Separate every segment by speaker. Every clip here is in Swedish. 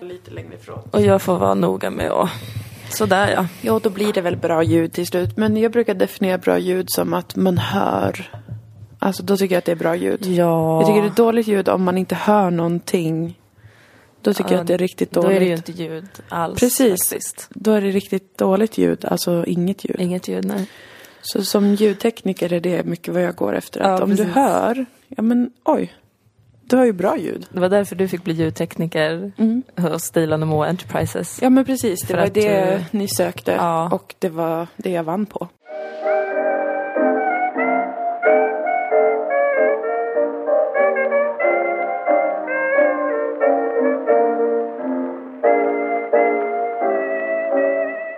Speaker 1: Lite längre ifrån.
Speaker 2: Och jag får vara noga med att... Sådär ja.
Speaker 1: Ja, då blir det väl bra ljud till slut. Men jag brukar definiera bra ljud som att man hör. Alltså då tycker jag att det är bra ljud.
Speaker 2: Ja.
Speaker 1: Jag tycker det är dåligt ljud om man inte hör någonting. Då tycker jag att det är riktigt dåligt.
Speaker 2: Då är det ju inte ljud alls.
Speaker 1: Precis.
Speaker 2: Faktiskt.
Speaker 1: Då är det riktigt dåligt ljud, alltså inget ljud.
Speaker 2: Inget ljud, nej.
Speaker 1: Så som ljudtekniker är det mycket vad jag går efter. Att
Speaker 2: Ja,
Speaker 1: om du
Speaker 2: precis.
Speaker 1: hör, ja men oj, du har ju bra ljud.
Speaker 2: Det var därför du fick bli ljudtekniker hos Dilan och Moa Enterprises.
Speaker 1: Ja men precis, det
Speaker 2: För
Speaker 1: var
Speaker 2: att,
Speaker 1: det
Speaker 2: eh,
Speaker 1: ni sökte
Speaker 2: ja.
Speaker 1: och det var det jag vann på.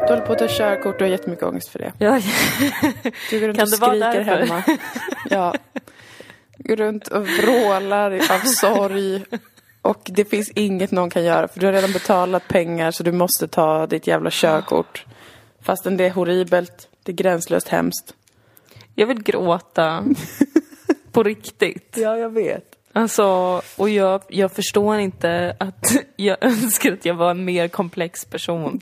Speaker 1: Du håller på att ta körkort och har jättemycket ångest för det.
Speaker 2: Ja.
Speaker 1: Du går runt
Speaker 2: Kan
Speaker 1: och
Speaker 2: det vara
Speaker 1: skriker
Speaker 2: därför?
Speaker 1: hemma. Ja. Går runt och vrålar av sorg. Och det finns inget någon kan göra för du har redan betalat pengar så du måste ta ditt jävla körkort. Fastän det är horribelt, det är gränslöst hemskt.
Speaker 2: Jag vill gråta. På riktigt.
Speaker 1: Ja, jag vet.
Speaker 2: Alltså, och jag, jag förstår inte att jag önskar att jag var en mer komplex person.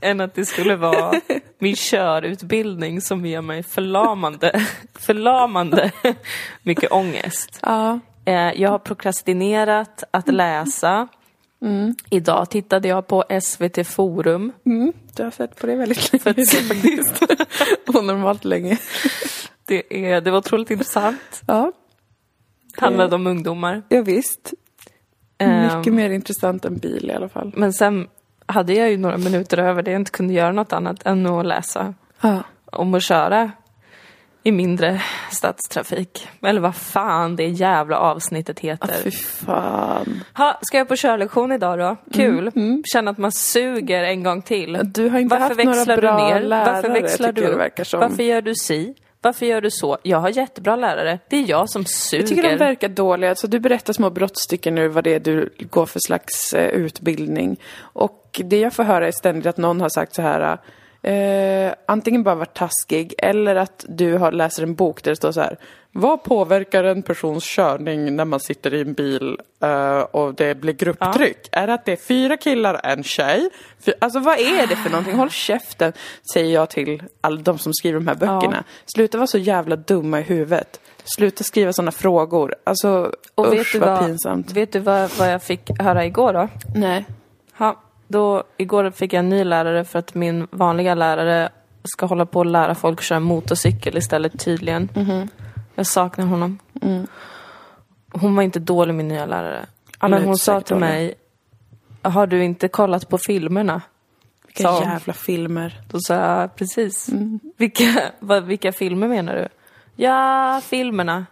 Speaker 2: än att det skulle vara min körutbildning som ger mig förlamande, förlamande mycket ångest.
Speaker 1: Ja.
Speaker 2: Eh, Jag har prokrastinerat att läsa. Idag tittade jag på SVT Forum.
Speaker 1: Mm, du har sett på det väldigt länge.
Speaker 2: För att se
Speaker 1: Onormalt länge.
Speaker 2: Det, är, det var otroligt intressant.
Speaker 1: Ja,
Speaker 2: Handlade om ungdomar.
Speaker 1: ja visst.
Speaker 2: Ehm,
Speaker 1: Mycket mer intressant än bil i alla fall.
Speaker 2: Men sen hade jag ju några minuter över där jag inte kunde göra något annat än att läsa
Speaker 1: Ja.
Speaker 2: om att köra i mindre stadstrafik. Eller vad fan det jävla avsnittet
Speaker 1: Ah, Fy Mm,
Speaker 2: heter.
Speaker 1: fan.
Speaker 2: Ha, ska jag på körlektion idag då? Kul! Känna att man suger en gång till.
Speaker 1: Du har inte
Speaker 2: Varför
Speaker 1: haft några
Speaker 2: växlar
Speaker 1: bra
Speaker 2: du ner? Varför
Speaker 1: lärare,
Speaker 2: växlar
Speaker 1: tycker
Speaker 2: du
Speaker 1: jag det
Speaker 2: upp?
Speaker 1: verkar som.
Speaker 2: Varför gör du si? Varför gör du så? Jag har jättebra lärare. Det är jag som suger.
Speaker 1: Jag tycker de verkar dåliga. Så du berättar små brottstycken nu vad det är du går för slags eh, utbildning. Och det jag får höra är ständigt att någon har sagt så här eh, antingen bara varit taskig eller att du har, läser en bok där det står så här Vad påverkar en persons körning när man sitter i en bil eh, och det blir grupptryck? Är det att det är fyra killar och en tjej? Fy, alltså vad är det för någonting? Håll käften, säger jag till alla de som skriver de här böckerna. Sluta vara så jävla dumma i huvudet. Sluta skriva sådana frågor. Alltså,
Speaker 2: Och
Speaker 1: usch vad, pinsamt.
Speaker 2: Vet du vad, vad jag fick höra igår då?
Speaker 1: Nej.
Speaker 2: Ja, då, igår fick jag en ny lärare för att min vanliga lärare ska hålla på och lära folk att köra motorcykel istället tydligen. Jag saknar honom. Hon var inte dålig min nya lärare.
Speaker 1: Alla är
Speaker 2: Men hon
Speaker 1: inte
Speaker 2: sa
Speaker 1: säkert
Speaker 2: till
Speaker 1: dåliga.
Speaker 2: mig, har du inte kollat på filmerna?
Speaker 1: Vilka
Speaker 2: Sa hon.
Speaker 1: jävla filmer.
Speaker 2: Då sa jag, precis. Vilka, vad, vilka filmer menar du? Ja, filmerna.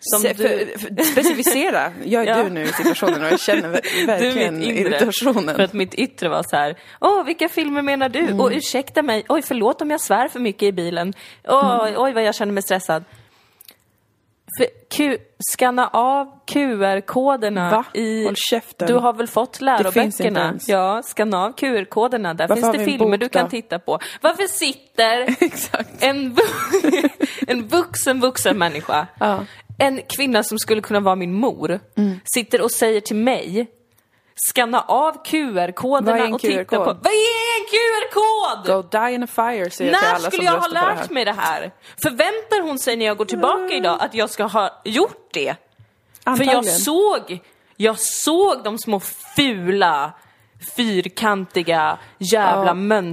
Speaker 2: Som
Speaker 1: Se-
Speaker 2: du-
Speaker 1: för- för- specificera. Jag är
Speaker 2: Ja.
Speaker 1: du nu i situationen och jag känner ver- verkligen
Speaker 2: mitt inre.
Speaker 1: irritationen. Mm.
Speaker 2: För att mitt yttre var så här, åh vilka filmer menar du? Och ursäkta mig, oj förlåt om jag svär för mycket i bilen. Åh,
Speaker 1: Mm.
Speaker 2: Oj vad jag känner mig stressad. För, Q, skanna av QR-koderna
Speaker 1: Va?
Speaker 2: i...
Speaker 1: Håll käften.
Speaker 2: Du har väl fått
Speaker 1: finns inte
Speaker 2: läroböckerna?
Speaker 1: ens.
Speaker 2: Ja, skanna av QR-koderna. Där
Speaker 1: Varför har
Speaker 2: finns
Speaker 1: vi
Speaker 2: det
Speaker 1: en
Speaker 2: filmer
Speaker 1: bok
Speaker 2: du kan
Speaker 1: då?
Speaker 2: titta på. Varför sitter
Speaker 1: Exakt.
Speaker 2: en, vu- en vuxen, vuxen människa.
Speaker 1: Ja. Mm.
Speaker 2: En kvinna som skulle kunna vara min mor sitter och säger till mig Skanna av
Speaker 1: Vad är en
Speaker 2: QR-koderna och titta på...
Speaker 1: QR-kod?
Speaker 2: Vad är en QR-kod?
Speaker 1: Go die in a fire säger jag till alla
Speaker 2: När
Speaker 1: som
Speaker 2: skulle jag ha
Speaker 1: röstar på det
Speaker 2: lärt
Speaker 1: här. Mm.
Speaker 2: mig det här? Förväntar hon sig när jag går tillbaka idag att jag ska ha gjort det? För jag
Speaker 1: Antagligen.
Speaker 2: såg, jag såg de små fula, fyrkantiga, jävla
Speaker 1: Ja.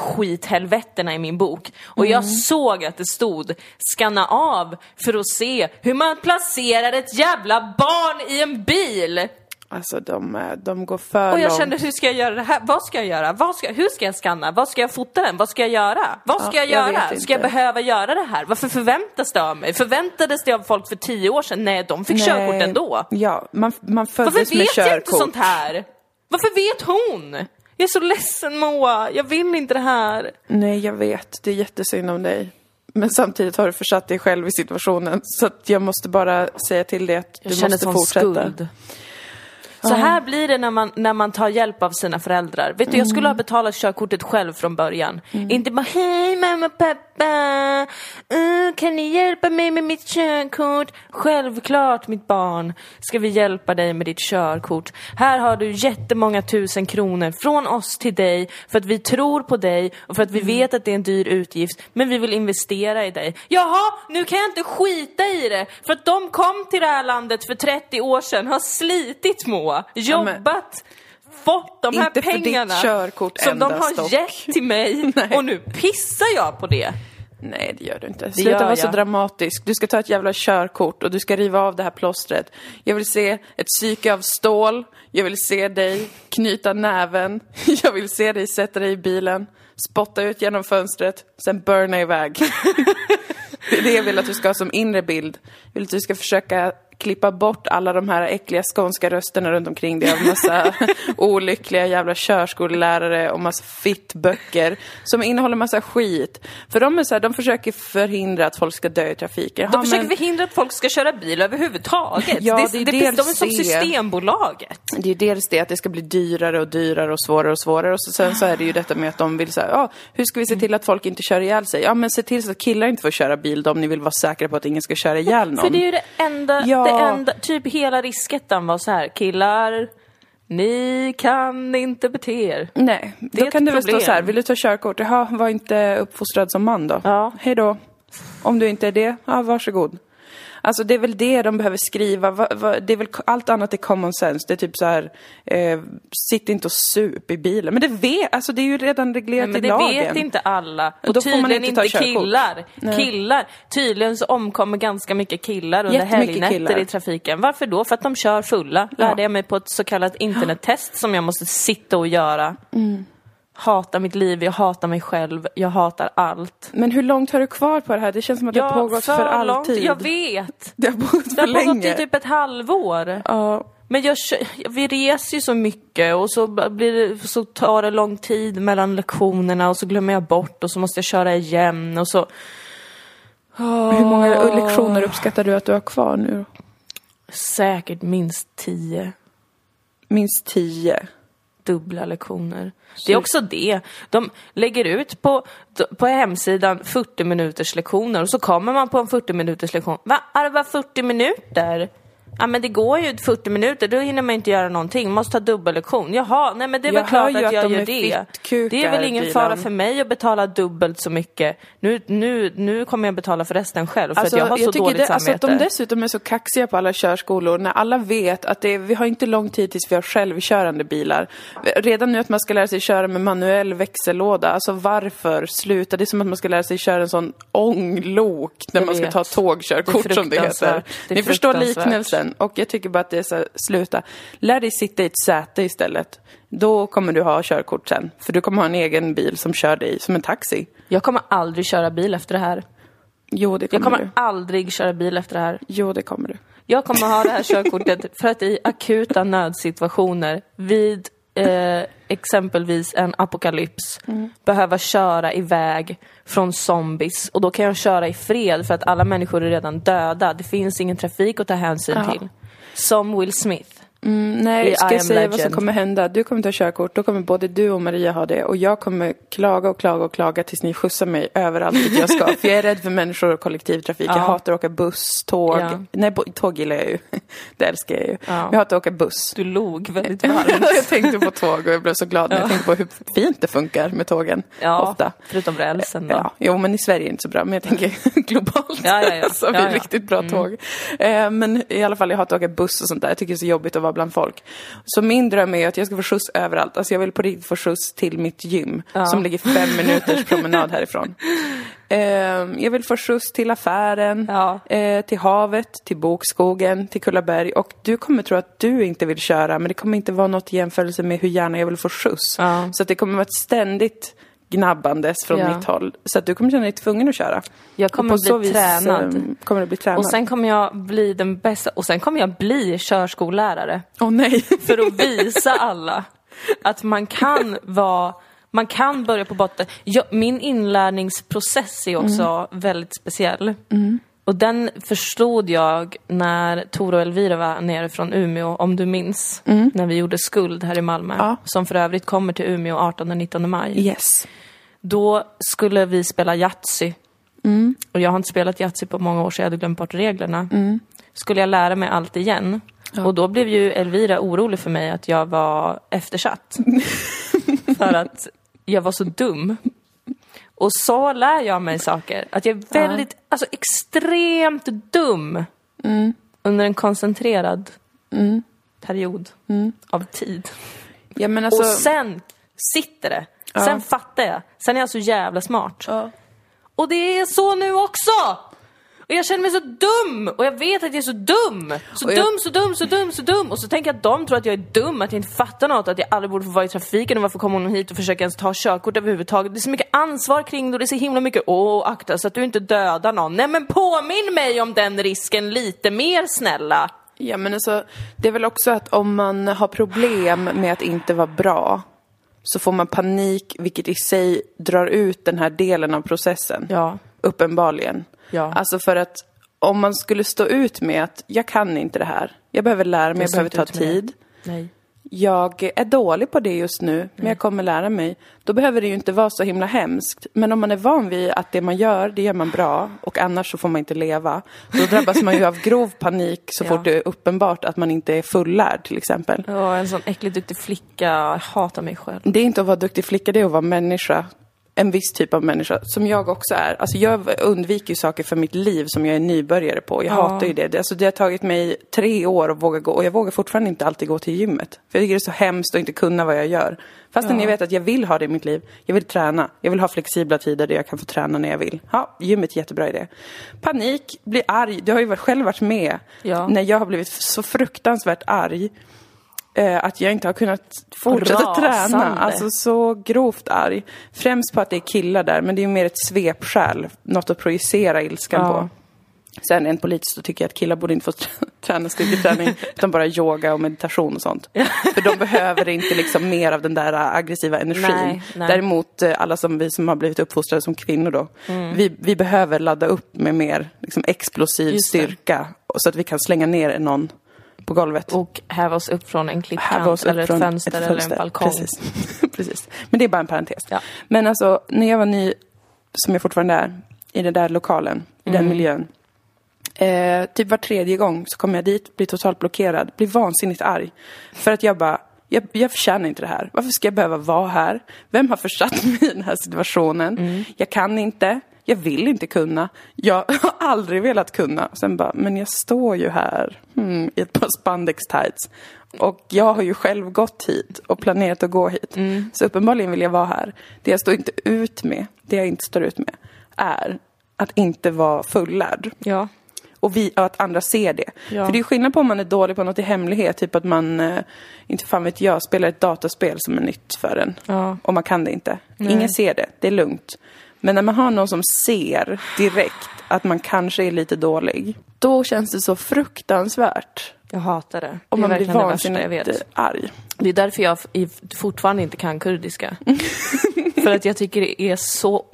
Speaker 2: mönsterskithelvetena i min bok. Och
Speaker 1: Mm.
Speaker 2: jag såg att det stod skanna av för att se hur man placerar ett jävla barn i en bil.
Speaker 1: Alltså de, eh, de går för
Speaker 2: Och jag
Speaker 1: långt.
Speaker 2: kände, hur ska jag göra det här? Vad ska jag göra? Vad ska, hur ska jag scanna? Vad ska jag fota den? Vad ska jag göra? Vad ska
Speaker 1: Ja,
Speaker 2: jag
Speaker 1: jag
Speaker 2: göra?
Speaker 1: vet
Speaker 2: ska jag
Speaker 1: inte.
Speaker 2: behöva göra det här? Varför förväntas det av mig? Förväntades det av folk för tio år sedan? Nej, de fick
Speaker 1: Nej.
Speaker 2: körkort ändå.
Speaker 1: Ja, man, man
Speaker 2: Varför
Speaker 1: föddes med
Speaker 2: vet
Speaker 1: körkort.
Speaker 2: jag inte sånt här? Varför vet hon? Jag är så ledsen Moa, jag vill inte det här.
Speaker 1: Nej, jag vet. Det är jättesynd om dig. Men samtidigt har du försatt dig själv i situationen. Så att jag måste bara säga till dig att du måste fortsätta.
Speaker 2: Så här blir det när man, när man tar hjälp av
Speaker 1: Mm.
Speaker 2: sina föräldrar. Vet du, jag skulle ha betalat körkortet själv från början. Inte bara, hej mamma, pappa, pappa, eh, kan ni hjälpa mig med mitt körkort? Självklart mitt barn ska vi hjälpa dig med ditt körkort. Här har du jättemånga tusen kronor från oss till dig för att vi tror på dig och för att
Speaker 1: Mm.
Speaker 2: vi vet att det är en dyr utgift men vi vill investera i dig. Jaha, nu kan jag inte skita i det för att de kom till det här landet för 30 år sedan, har slitit Moa,
Speaker 1: men-
Speaker 2: jobbat fått de här
Speaker 1: Inte för ditt
Speaker 2: pengarna
Speaker 1: körkort
Speaker 2: som de
Speaker 1: endast
Speaker 2: har
Speaker 1: dock.
Speaker 2: gett till mig
Speaker 1: Nej.
Speaker 2: och nu pissar jag på det.
Speaker 1: Nej, det gör du inte. Sluta
Speaker 2: gör
Speaker 1: vara så
Speaker 2: jag.
Speaker 1: dramatisk. Du ska ta ett jävla körkort och du ska riva av det här plåstret. Jag vill se ett psyke av stål. Jag vill se dig knyta näven. Jag vill se dig sätta dig i bilen, spotta ut genom fönstret, sen burna iväg. det är det jag vill att du ska ha som inre bild. Jag vill att du ska försöka klippa bort alla de här äckliga skånska rösterna runt omkring dig av massa olyckliga jävla körskollärare och massa fittböcker som innehåller massa skit. För de är så här, de försöker förhindra att folk ska dö i trafiken.
Speaker 2: De
Speaker 1: Ja,
Speaker 2: försöker
Speaker 1: men
Speaker 2: förhindra att folk ska köra bil överhuvudtaget.
Speaker 1: Ja, det är
Speaker 2: det, är
Speaker 1: dels
Speaker 2: de är som
Speaker 1: det.
Speaker 2: Systembolaget.
Speaker 1: Det är ju dels det att det ska bli dyrare och dyrare och svårare och svårare och så, sen så är det ju detta med att de vill säga, ja, hur ska vi se till att folk inte kör ihjäl sig? Ja, men se till så att killar inte får köra bil då, om ni vill vara säkra på att ingen ska köra ihjäl någon.
Speaker 2: För det är ju det enda,
Speaker 1: Ja.
Speaker 2: det enda typ hela risketten var så här, killar, ni kan inte bete er.
Speaker 1: Nej,
Speaker 2: är
Speaker 1: då
Speaker 2: ett
Speaker 1: kan det väl stå
Speaker 2: problem.
Speaker 1: så här, vill du ta körkort? Jaha, var inte uppfostrad som man då.
Speaker 2: Ja.
Speaker 1: Hej då. Om du inte är det, ja, varsågod. Alltså det är väl det de behöver skriva, va, va, det är väl, allt annat är common sense. Det är typ så här, eh, sitt inte och sup i bilen. Men det vet, alltså det är ju redan reglerat
Speaker 2: Men
Speaker 1: i
Speaker 2: det
Speaker 1: lagen.
Speaker 2: vet inte alla.
Speaker 1: Och
Speaker 2: Och
Speaker 1: då får man
Speaker 2: tydligen
Speaker 1: inte ta
Speaker 2: inte,
Speaker 1: körkort.
Speaker 2: killar. Killar. Tydligen så omkommer ganska mycket killar under
Speaker 1: Jättemycket
Speaker 2: helgnätter
Speaker 1: killar.
Speaker 2: i trafiken. Varför då? För att de kör fulla.
Speaker 1: Ja.
Speaker 2: Lärde jag mig på ett så kallat internettest som jag måste sitta och göra.
Speaker 1: Mm.
Speaker 2: Hatar mitt liv, jag hatar mig själv, jag hatar allt.
Speaker 1: Men hur långt har du kvar på det här? Det känns som att det har pågått för, alltid.
Speaker 2: Jag vet.
Speaker 1: Det har pågått
Speaker 2: Det
Speaker 1: för
Speaker 2: har pågått
Speaker 1: länge.
Speaker 2: i typ ett halvår.
Speaker 1: Ja.
Speaker 2: Men jag, kö- vi reser ju så mycket och så, blir det, så tar det lång tid mellan lektionerna och så glömmer jag bort och så måste jag köra igen och så...
Speaker 1: Hur många lektioner uppskattar du att du har kvar nu? då?
Speaker 2: Säkert minst tio
Speaker 1: Minst tio.
Speaker 2: dubbla lektioner. Det är också det. De lägger ut på, på hemsidan 40 minuters lektioner och så kommer man på en 40 minuters lektion. Va? Är det bara 40 minuter? Ja men det går ju 40 minuter, då hinner man inte göra någonting. Måste ta dubbellektion. Jaha, nej men det är väl
Speaker 1: Jag hör
Speaker 2: klart
Speaker 1: ju
Speaker 2: att
Speaker 1: att
Speaker 2: jag
Speaker 1: de
Speaker 2: gör
Speaker 1: är
Speaker 2: det.
Speaker 1: fittkukar,
Speaker 2: Det är väl ingen
Speaker 1: Dilan.
Speaker 2: fara för mig att betala dubbelt så mycket. Nu, nu, nu kommer jag betala för resten själv för att jag har så
Speaker 1: Alltså, tycker
Speaker 2: dåligt
Speaker 1: det,
Speaker 2: samvete.
Speaker 1: Alltså att de dessutom är så kaxiga på alla körskolor när alla vet att det är, vi har inte lång tid tills vi har självkörande bilar. Redan nu att man ska lära sig köra med manuell växellåda, alltså varför sluta? Det är som att man ska lära sig köra en sån ånglok när
Speaker 2: Jag
Speaker 1: man ska
Speaker 2: vet.
Speaker 1: ta tågkörkort
Speaker 2: Det är
Speaker 1: som det heter.
Speaker 2: fruktansvärt. Det är
Speaker 1: Ni förstår
Speaker 2: fruktansvärt.
Speaker 1: liknelsen och jag tycker bara att det är så här, sluta. Lär dig sitta i ett säte istället. Då kommer du ha körkort sen, för du kommer ha en egen bil som kör dig som en taxi.
Speaker 2: Jag kommer aldrig köra bil efter det här.
Speaker 1: Jo, det
Speaker 2: Jag
Speaker 1: kommer, du.
Speaker 2: kommer aldrig köra bil efter det här.
Speaker 1: Jo, det kommer du.
Speaker 2: Jag kommer ha det här körkortet för att i akuta nödsituationer vid eh, exempelvis en apokalyps behöva köra iväg från zombies och då kan jag köra i fred för att alla människor är redan döda. Det finns ingen trafik att ta hänsyn
Speaker 1: Ja.
Speaker 2: till. Som Will Smith.
Speaker 1: Nej,
Speaker 2: i
Speaker 1: ska
Speaker 2: I
Speaker 1: jag
Speaker 2: Am
Speaker 1: säga vad som
Speaker 2: Legend.
Speaker 1: kommer hända? Du kommer ta körkort, då kommer både du och Maria ha det och jag kommer klaga och klaga och klaga tills ni skjutsar mig överallt dit jag ska. För jag är rädd för människor och kollektivtrafik.
Speaker 2: Ja.
Speaker 1: Jag hatar att åka buss, tåg.
Speaker 2: Ja.
Speaker 1: Nej, bo- tåg gillar jag ju. Det älskar jag ju. Men jag hatar att åka buss.
Speaker 2: Du log väldigt
Speaker 1: jag tänkte på tåg och jag blev så glad när jag tänkte på hur fint det funkar med tågen.
Speaker 2: Ja,
Speaker 1: Ofta.
Speaker 2: förutom rälsen då.
Speaker 1: Ja, jo, men i Sverige är det inte så bra, men jag tänker globalt
Speaker 2: Ja, ja, ja.
Speaker 1: så har vi
Speaker 2: Ja, Mm. ja.
Speaker 1: riktigt bra tåg. Eh, men i alla fall, jag hatar att åka buss och sånt där. Jag tycker det är så jobbigt att vara bland folk. Så min dröm är ju att jag ska få skjuts överallt. Alltså jag vill på riktigt få skjuts till mitt gym som ligger fem minuters promenad härifrån. Eh, jag vill få skjuts till affären,
Speaker 2: Ja.
Speaker 1: eh, till havet, till bokskogen, till Kullaberg. Och du kommer tro att du inte vill köra, men det kommer inte vara något i jämförelse med hur gärna jag vill få skjuts.
Speaker 2: Ja.
Speaker 1: Så att det kommer vara ett ständigt gnabbandes från
Speaker 2: Ja.
Speaker 1: mitt håll. Så att du kommer känna dig tvungen att köra.
Speaker 2: Jag kommer
Speaker 1: Och på
Speaker 2: bli
Speaker 1: så vis,
Speaker 2: tränad.
Speaker 1: ehm, kommer du bli tränad.
Speaker 2: Och sen kommer jag bli den bästa, och sen kommer jag bli körskollärare.
Speaker 1: Åh nej!
Speaker 2: för att visa alla att man kan vara man kan börja på botten. Jag, min inlärningsprocess är också väldigt speciell. Och den förstod jag när Tore och Elvira var nere från Umeå, om du minns. När vi gjorde Skuld här i Malmö,
Speaker 1: Ja.
Speaker 2: som för övrigt kommer till Umeå 18 och 19 maj.
Speaker 1: Yes.
Speaker 2: Då skulle vi spela Yatzy Och jag har inte spelat Yatzy på många år så jag hade glömt bort reglerna. Skulle jag lära mig allt igen? Och då blev ju Elvira orolig för mig att jag var eftersatt. för att jag var så dum. Och så lär jag mig saker. Att jag är väldigt, alltså extremt dum. Under en koncentrerad period av tid.
Speaker 1: Ja, men alltså,
Speaker 2: Och sen sitter det. Sen fattar jag. Sen är jag så jävla smart.
Speaker 1: Ja.
Speaker 2: Och det är så nu också! Och jag känner mig så dum! Och jag vet att jag är så dum! Så
Speaker 1: Och jag-
Speaker 2: dum, så dum, så dum, så dum! Och så tänker jag att de tror att jag är dum, att jag inte fattar något, att jag aldrig borde få vara i trafiken och varför kommer hon hit och försöker ens ta körkort överhuvudtaget? Det är så mycket ansvar kring det och det är så himla mycket åh, akta så att du inte dödar någon. Nej men påminn mig om den risken lite mer snälla!
Speaker 1: ja, men alltså, det är väl också att om man har problem med att inte vara bra så får man panik, vilket i sig drar ut den här delen av processen.
Speaker 2: Ja.
Speaker 1: Uppenbarligen.
Speaker 2: Ja.
Speaker 1: Alltså för att om man skulle stå ut med att jag kan inte det här, jag behöver lära mig, jag behöver ta tid.
Speaker 2: Nej.
Speaker 1: jag är dålig på det just nu, men jag kommer lära mig. Då behöver det ju inte vara så himla hemskt. Men om man är van vid att det man gör, det gör man bra och annars så får man inte leva. Då drabbas man ju av grov panik så
Speaker 2: Ja.
Speaker 1: fort det är uppenbart att man inte är fullärd till exempel.
Speaker 2: Ja, en sån äckligt duktig flicka, jag hatar mig själv.
Speaker 1: Det är inte att vara duktig flicka, det är att vara människa. En viss typ av människa, som jag också är. Alltså jag undviker ju saker för mitt liv som jag är nybörjare på. Jag hatar ju det. det. Alltså det har tagit mig tre år att våga gå och jag vågar fortfarande inte alltid gå till gymmet. För jag tycker det är så hemskt att inte kunna vad jag gör. Fastän jag vet att jag vill ha det i mitt liv. Jag vill träna. Jag vill ha flexibla tider där jag kan få träna när jag vill. Ja, gymmet är jättebra idé. Panik, bli arg. Du har ju varit- själv varit med
Speaker 2: Ja.
Speaker 1: när jag har blivit f- så fruktansvärt arg. Eh, att jag inte har kunnat fortsätta
Speaker 2: Rasande.
Speaker 1: träna. Alltså så grovt arg. Främst på att det är killar där, men det är ju mer ett svepskäl. Något att projicera ilskan
Speaker 2: Ja.
Speaker 1: på. Sen rent politiskt så tycker jag att killar borde inte få trä- träna styrketräning utan bara yoga och meditation och sånt. För de behöver inte liksom mer av den där äh, aggressiva energin.
Speaker 2: Nej, nej.
Speaker 1: Däremot eh, alla som vi som har blivit uppfostrade som kvinnor då.
Speaker 2: Mm.
Speaker 1: Vi, vi behöver ladda upp med mer liksom, explosiv
Speaker 2: Just det.
Speaker 1: styrka och- så att vi kan slänga ner någon på golvet
Speaker 2: Och häva oss upp från en
Speaker 1: här
Speaker 2: klippkant
Speaker 1: var oss upp
Speaker 2: eller ett
Speaker 1: från
Speaker 2: fönster, eller
Speaker 1: fönster.
Speaker 2: en balkong.
Speaker 1: Precis. Precis. Men det är bara en parentes.
Speaker 2: Ja.
Speaker 1: Men alltså, när jag var ny, som jag fortfarande är, i den där lokalen, i
Speaker 2: Mm.
Speaker 1: den miljön. Eh, typ var tredje gång så kom jag dit, blir totalt blockerad, blir vansinnigt arg. För att jag bara, jag, jag förtjänar inte det här. Varför ska jag behöva vara här? Vem har försatt mig i den här situationen? Jag kan inte. Jag vill inte kunna. Jag har aldrig velat kunna. Sen bara, men jag står ju här hmm, i ett par spandex tights. Och jag har ju själv gått hit och planerat att gå hit. Så uppenbarligen vill jag vara här. Det jag står inte ut med, det jag inte står ut med, är att inte vara fullärd.
Speaker 2: Ja.
Speaker 1: Och vi, och att andra ser det.
Speaker 2: Ja.
Speaker 1: För det är skillnad på om man är dålig på något i hemlighet, typ att man, eh, inte fan vet jag, spelar ett dataspel som är nytt för en.
Speaker 2: Ja.
Speaker 1: Och man kan det inte. Ingen ser det, det är lugnt. Men när man har någon som ser direkt att man kanske är lite dålig, då känns det så fruktansvärt.
Speaker 2: Jag hatar det.
Speaker 1: Om
Speaker 2: det är
Speaker 1: man blir
Speaker 2: verkligen det värsta
Speaker 1: vansinnigt
Speaker 2: jag vet.
Speaker 1: arg.
Speaker 2: Det är därför jag f- i- fortfarande inte kan kurdiska. För att jag tycker det är så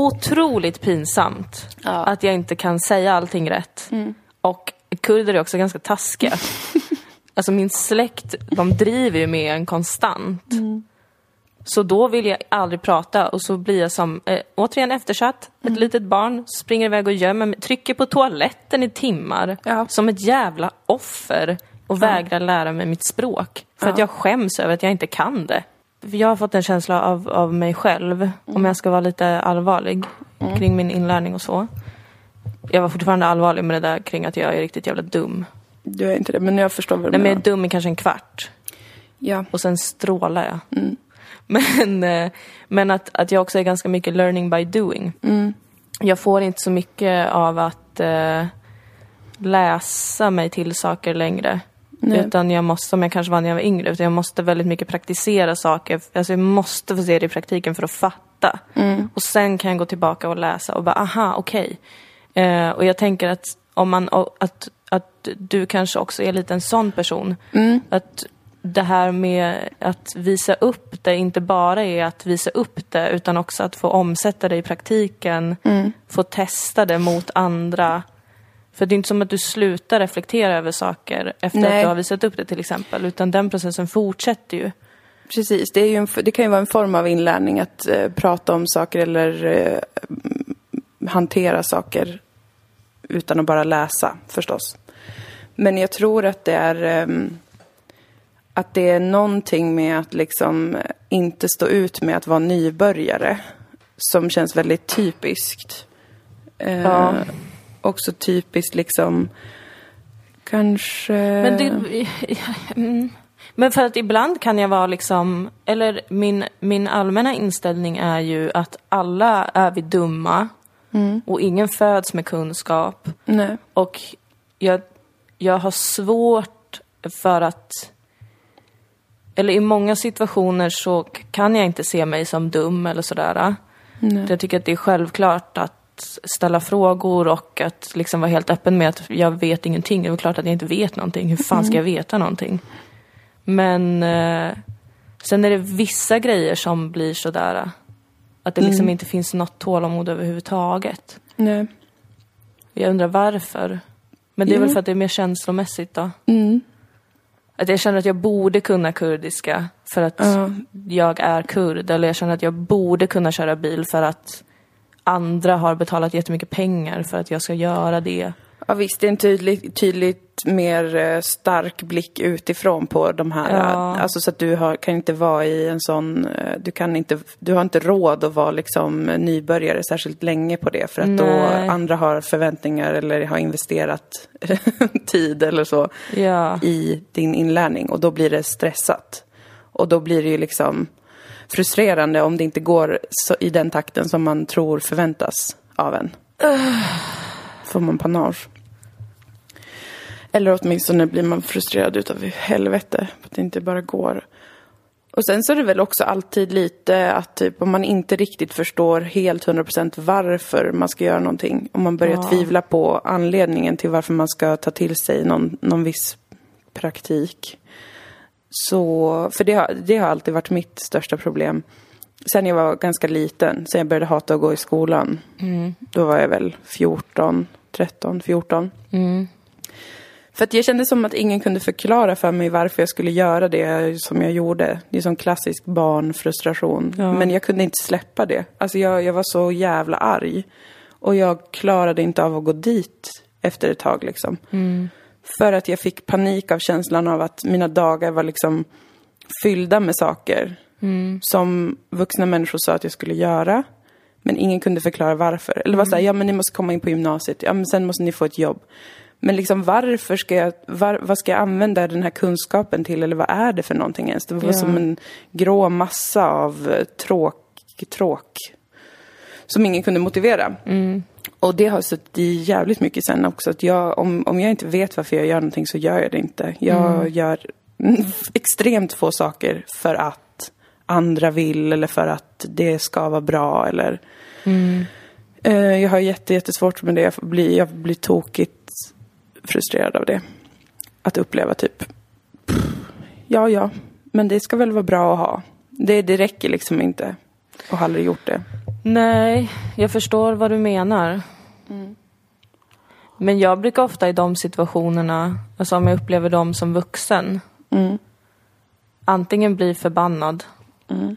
Speaker 2: otroligt pinsamt att jag inte kan säga allting rätt. Och kurder är också ganska taskiga. alltså min släkt, de driver ju med en konstant. Så då vill jag aldrig prata och så blir jag som, eh, återigen eftersatt, ett litet barn, springer iväg och gömmer mig, trycker på toaletten i timmar.
Speaker 1: Ja.
Speaker 2: Som ett jävla offer och vägrar lära mig mitt språk. För att jag skäms över att jag inte kan det. För jag har fått en känsla av, av mig själv, om jag ska vara lite allvarlig kring min inlärning och så. Jag var fortfarande allvarlig med det där kring att jag är riktigt jävla dum.
Speaker 1: Du är inte det, men jag förstår vad du
Speaker 2: Nej men jag
Speaker 1: menar.
Speaker 2: är dum i kanske en kvart
Speaker 1: Ja.
Speaker 2: och sen strålar jag. Men, eh, men att, att jag också är ganska mycket learning by doing. Jag får inte så mycket av att eh, läsa mig till saker längre. Utan jag måste, som jag kanske var när jag var yngre, utan jag måste väldigt mycket praktisera saker. Alltså jag måste få se det i praktiken för att fatta. Och sen kan jag gå tillbaka och läsa och bara, aha, okej. Eh, och jag tänker att om man, och att, att du kanske också är lite en sån person. Att det här med att visa upp det inte bara är att visa upp det utan också att få omsätta det i praktiken. Få testa det mot andra. För det är inte som att du slutar reflektera över saker efter
Speaker 1: Nej.
Speaker 2: att du har visat upp det till exempel. Utan den processen fortsätter ju.
Speaker 1: Precis, det, är ju en, det kan ju vara en form av inlärning att eh, prata om saker eller eh, mm, hantera saker utan att bara läsa förstås. Men jag tror att det är ehm, att det är någonting med att liksom inte stå ut med att vara nybörjare som känns väldigt typiskt. Eh,
Speaker 2: Ja.
Speaker 1: Också typiskt liksom kanske...
Speaker 2: Men, det, Mm. men för att ibland kan jag vara liksom, eller min, min allmänna inställning är ju att alla är vi dumma och ingen föds med kunskap.
Speaker 1: Nej.
Speaker 2: Och jag, jag har svårt för att... Eller i många situationer så k- kan jag inte se mig som dum eller sådär. Jag tycker att det är självklart att ställa frågor och att liksom vara helt öppen med att jag vet ingenting. Det är väl klart att jag inte vet någonting. Hur fan ska jag veta någonting? Men eh, sen är det vissa grejer som blir sådär. eh, Att det liksom inte finns något tålamod överhuvudtaget.
Speaker 1: Nej.
Speaker 2: Jag undrar varför. Men det är
Speaker 1: Jo.
Speaker 2: väl för att det är mer känslomässigt då.
Speaker 1: Mm.
Speaker 2: Att jag känner att jag borde kunna kurdiska för att
Speaker 1: Ja.
Speaker 2: jag är kurd. Eller jag känner att jag borde kunna köra bil för att andra har betalat jättemycket pengar för att jag ska göra det.
Speaker 1: Ja visst, det är en tydlig, tydligt mer eh, stark blick utifrån på de här.
Speaker 2: Ja.
Speaker 1: eh, Alltså så att du har, kan inte vara i en sån, eh, du kan inte, du har inte råd att vara liksom eh, nybörjare särskilt länge på det för att
Speaker 2: Nej.
Speaker 1: då andra har förväntningar eller har investerat tid eller så
Speaker 2: Ja.
Speaker 1: i din inlärning och då blir det stressat. Och då blir det ju liksom frustrerande om det inte går så, i den takten som man tror förväntas av en. Får man panage. Eller åtminstone blir man frustrerad utav helvete, att det inte bara går. Och sen så är det väl också alltid lite att typ om man inte riktigt förstår helt 100% varför man ska göra någonting. Om man börjar
Speaker 2: Ja.
Speaker 1: tvivla på anledningen till varför man ska ta till sig någon, någon viss praktik. Så, för det har, det har alltid varit mitt största problem. Sen jag var ganska liten, sen jag började hata att gå i skolan. Då var jag väl 14, 13, 14. För att jag kände som att ingen kunde förklara för mig varför jag skulle göra det som jag gjorde. Det är som klassisk barnfrustration. Men jag kunde inte släppa det. Alltså jag, jag var så jävla arg. Och jag klarade inte av att gå dit efter ett tag liksom. För att jag fick panik av känslan av att mina dagar var liksom fyllda med saker. Som vuxna människor sa att jag skulle göra. Men ingen kunde förklara varför. Eller var såhär, ja men ni måste komma in på gymnasiet. Ja men sen måste ni få ett jobb. Men liksom varför ska jag, var, vad ska jag använda den här kunskapen till? Eller vad är det för någonting ens? Det var
Speaker 2: Ja.
Speaker 1: som en grå massa av eh, tråk, tråk. Som ingen kunde motivera. Och det har suttit i jävligt mycket sen också. Att jag, om, om jag inte vet varför jag gör någonting så gör jag det inte. Jag gör extremt få saker för att andra vill eller för att det ska vara bra eller Eh, Jag har jätte, jättesvårt med det. Jag blir, jag blir tokigt frustrerad av det. Att uppleva typ, pff, ja, ja, men det ska väl vara bra att ha. Det, det räcker liksom inte. Och har aldrig gjort det.
Speaker 2: Nej, jag förstår vad du menar. Men jag brukar ofta i de situationerna, alltså om jag upplever dem som vuxen,
Speaker 1: Mm.
Speaker 2: antingen bli förbannad
Speaker 1: Mm.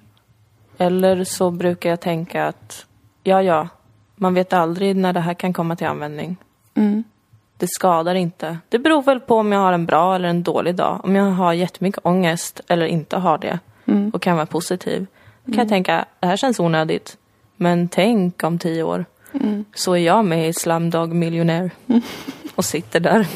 Speaker 2: eller så brukar jag tänka att ja, ja, man vet aldrig när det här kan komma till användning.
Speaker 1: Mm.
Speaker 2: Det skadar inte. Det beror väl på om jag har en bra eller en dålig dag. Om jag har jättemycket ångest eller inte har det
Speaker 1: Mm.
Speaker 2: och kan vara positiv. Då kan jag tänka, det här känns onödigt. Men tänk om tio år så är jag med i Slumdog Millionaire och sitter där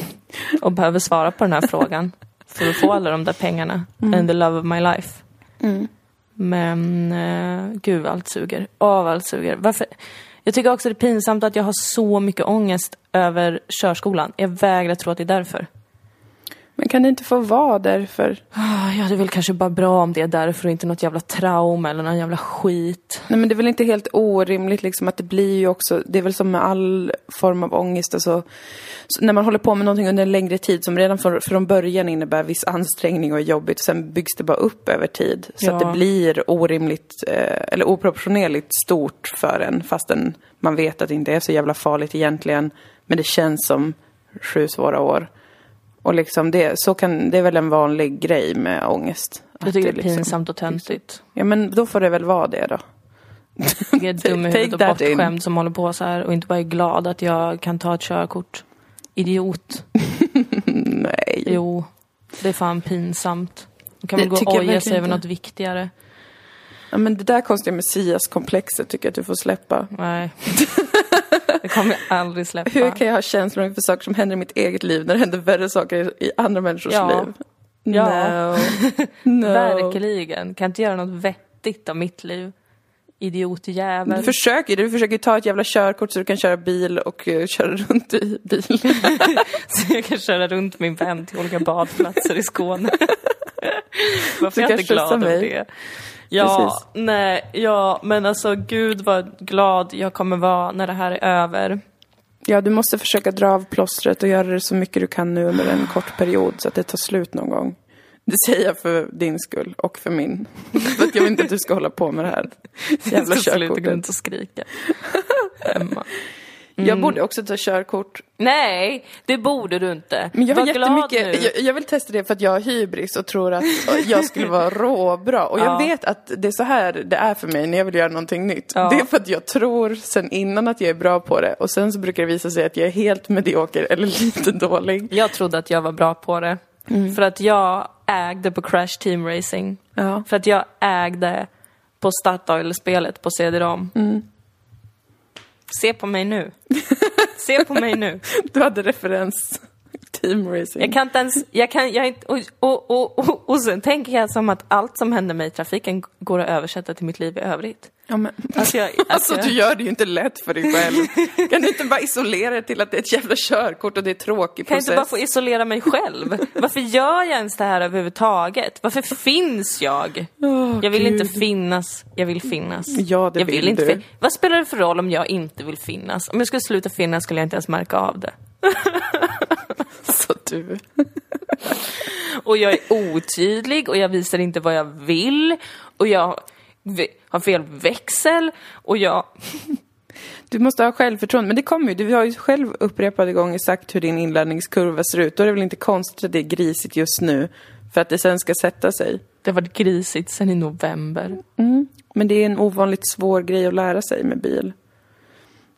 Speaker 2: och behöver svara på den här frågan för att få alla de där pengarna and the love of my life.
Speaker 1: Mm.
Speaker 2: Men eh, gud vad allt suger. Åh vad allt suger. Varför? Jag tycker också det är pinsamt att jag har så mycket ångest över körskolan. Jag vägrar tro att det är därför.
Speaker 1: Men kan det inte få vara därför?
Speaker 2: Ah, Ja, det är väl kanske bara bra om det är därför och inte något jävla trauma eller någon jävla skit.
Speaker 1: Nej men det är väl inte helt orimligt liksom att det blir ju också, det är väl som med all form av ångest alltså, så när man håller på med någonting under en längre tid som redan från, från början innebär viss ansträngning och är jobbigt, sen byggs det bara upp över tid. Så att
Speaker 2: Ja.
Speaker 1: det blir orimligt, eh, eller oproportionerligt stort för en fastän man vet att det inte är så jävla farligt egentligen, men det känns som sju svåra år. Och liksom det, så kan, det är väl en vanlig grej med ångest.
Speaker 2: Jag
Speaker 1: Att
Speaker 2: tycker det är
Speaker 1: liksom-
Speaker 2: pinsamt och töntigt.
Speaker 1: Ja men då får det väl vara det då.
Speaker 2: Jag är dum i
Speaker 1: Take
Speaker 2: huvudet och
Speaker 1: that in.
Speaker 2: bortskämd som håller på så här och inte bara är glad att jag kan ta ett körkort. Idiot.
Speaker 1: Nej.
Speaker 2: Jo, det är fan pinsamt. Då kan
Speaker 1: Det
Speaker 2: man gå
Speaker 1: tycker
Speaker 2: och
Speaker 1: jag
Speaker 2: oja sig
Speaker 1: verkligen
Speaker 2: över
Speaker 1: inte.
Speaker 2: något viktigare.
Speaker 1: Ja, men det där konstiga messiaskomplexet tycker jag att du får släppa.
Speaker 2: Nej. Det kommer jag aldrig släppa.
Speaker 1: Hur kan jag ha känslor inför saker som händer i mitt eget liv när det händer värre saker i andra människors
Speaker 2: Ja.
Speaker 1: liv?
Speaker 2: Ja.
Speaker 1: No. no.
Speaker 2: Verkligen. Kan inte göra något vettigt av mitt liv.
Speaker 1: Du
Speaker 2: Idiotjävel.
Speaker 1: försöker ju. Du försöker ju ta ett jävla körkort så du kan köra bil och eh, köra runt i bil.
Speaker 2: Så jag kan köra runt min vän till olika badplatser i Skåne. Varför
Speaker 1: Du
Speaker 2: är jag
Speaker 1: kan
Speaker 2: inte glad
Speaker 1: kyssa
Speaker 2: över
Speaker 1: mig.
Speaker 2: det? Ja,
Speaker 1: Precis.
Speaker 2: nej, ja, men alltså gud vad glad jag kommer vara när det här är över.
Speaker 1: Ja, du måste försöka dra av plåstret och göra det så mycket du kan nu under en kort period så att det tar slut någon gång. Det säger jag för din skull och för min. För att jag vill inte att du ska hålla på med det här jävla
Speaker 2: jag ska sluta gå
Speaker 1: körkortet.
Speaker 2: runt och skrika. Hemma.
Speaker 1: Jag borde också ta körkort.
Speaker 2: Nej, det borde du inte.
Speaker 1: Men jag har
Speaker 2: Var glad nu.
Speaker 1: jättemycket, jag, jag vill testa det för att jag har hybris och tror att jag skulle vara råbra. Och jag
Speaker 2: Ja.
Speaker 1: vet att det är så här det är för mig när jag vill göra någonting nytt.
Speaker 2: Ja.
Speaker 1: Det är för att jag tror sen innan att jag är bra på det och sen så brukar det visa sig att jag är helt medioker eller lite dålig.
Speaker 2: Jag trodde att jag var bra på det.
Speaker 1: Mm.
Speaker 2: För att jag ägde på Crash Team Racing.
Speaker 1: Ja.
Speaker 2: För att jag ägde på Statoil-spelet på CD-ROM.
Speaker 1: Mm.
Speaker 2: Se på mig nu. Se på mig nu.
Speaker 1: Du hade referens. Team racing.
Speaker 2: Jag kan inte ens... Jag kan, jag är inte, och, och, och, och, och sen tänker jag som att allt som händer mig i trafiken går att översätta till mitt liv i övrigt.
Speaker 1: ja, men...
Speaker 2: Alltså, jag,
Speaker 1: Alltså
Speaker 2: jag-
Speaker 1: du gör det ju inte lätt för dig själv. Kan du inte bara isolera det till att det är ett jävla körkort och det är en tråkig
Speaker 2: Kan jag
Speaker 1: process?
Speaker 2: inte bara få isolera mig själv? Varför gör jag ens det här överhuvudtaget? Varför finns jag?
Speaker 1: Åh,
Speaker 2: jag vill
Speaker 1: Gud.
Speaker 2: inte finnas, jag vill finnas.
Speaker 1: Ja, det
Speaker 2: jag
Speaker 1: vill
Speaker 2: inte
Speaker 1: du.
Speaker 2: fin- Vad spelar det för roll om jag inte vill finnas? Om jag skulle sluta finnas skulle jag inte ens märka av det.
Speaker 1: Så Alltså, du.
Speaker 2: Och jag är otydlig och jag visar inte vad jag vill. Och jag v- har fel växel. Och jag...
Speaker 1: Du måste ha självförtroende, men det kommer ju. Du har ju själv upprepade gånger sagt hur din inlärningskurva ser ut. Då är det väl inte konstigt att det är grisigt just nu, för att det sen ska sätta sig.
Speaker 2: Det har varit grisigt sen i november.
Speaker 1: Men det är en ovanligt svår grej att lära sig med bil.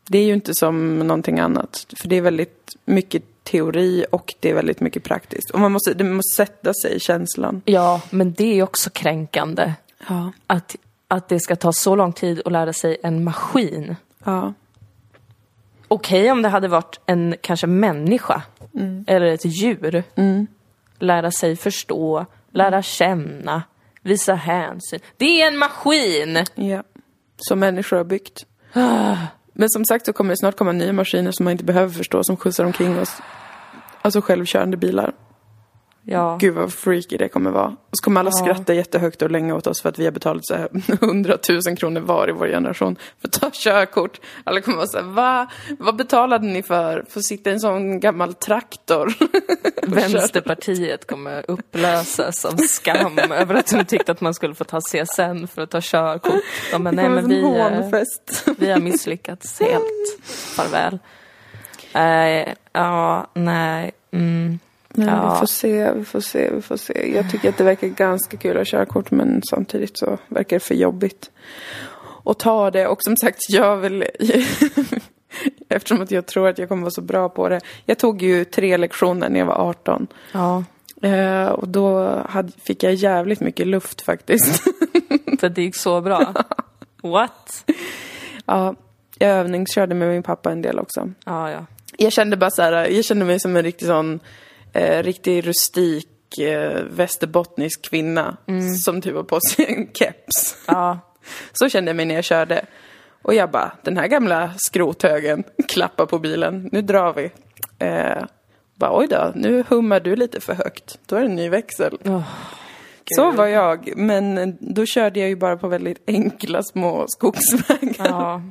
Speaker 1: Det är ju inte som någonting annat, för det är väldigt mycket teori och det är väldigt mycket praktiskt. Och man måste, det måste sätta sig i känslan.
Speaker 2: Ja, men det är ju också kränkande.
Speaker 1: Ja.
Speaker 2: Att, att det ska ta så lång tid att lära sig en maskin.
Speaker 1: Ja.
Speaker 2: okej om det hade varit en kanske människa eller ett djur. Lära sig förstå, lära känna, visa hänsyn. Det är en maskin!
Speaker 1: ja. Som människor har byggt. Men som sagt så kommer det snart komma nya maskiner som man inte behöver förstå, som skjutsar omkring oss. Alltså självkörande bilar.
Speaker 2: Ja.
Speaker 1: Gud vad freaky det kommer vara. Och så kommer alla skratta jättehögt och länge åt oss för att vi har betalat så här 100 000 kronor var i vår generation för att ta körkort. Alla kommer vara så här, va? Vad betalade ni för? För att sitta i en sån gammal traktor?
Speaker 2: Vänsterpartiet kommer upplösas av skam över att de tyckte att man skulle få ta CSN för att ta körkort. De bara, nej men vi, eh,
Speaker 1: hånfest.
Speaker 2: vi har misslyckats helt. Farväl. Eh, ja, nej. Mm.
Speaker 1: Ja. Vi
Speaker 2: Ja.
Speaker 1: får se, vi får se, vi får se. Jag tycker att det verkar ganska kul att ha körkort men samtidigt så verkar det för jobbigt att ta det. Och som sagt, jag vill... Eftersom att jag tror att jag kommer vara så bra på det. Jag tog ju tre lektioner när jag var 18.
Speaker 2: Ja,
Speaker 1: Eh, och då hade, fick jag jävligt mycket luft faktiskt.
Speaker 2: för det gick så bra. What?
Speaker 1: ja, jag övningskörde med min pappa en del också.
Speaker 2: Ja, ja.
Speaker 1: Jag kände bara så här, jag kände mig som en riktig sån, eh, riktig rustik eh, västerbottnisk kvinna som typ har på sig en keps.
Speaker 2: Mm. Ja.
Speaker 1: Så kände jag mig när jag körde. Och jag bara, den här gamla skrothögen klappar på bilen, nu drar vi. Eh, bara, oj då, nu hummar du lite för högt. Då är det en ny växel. Så var jag, men då körde jag ju bara på väldigt enkla små skogsvägar.
Speaker 2: Ja.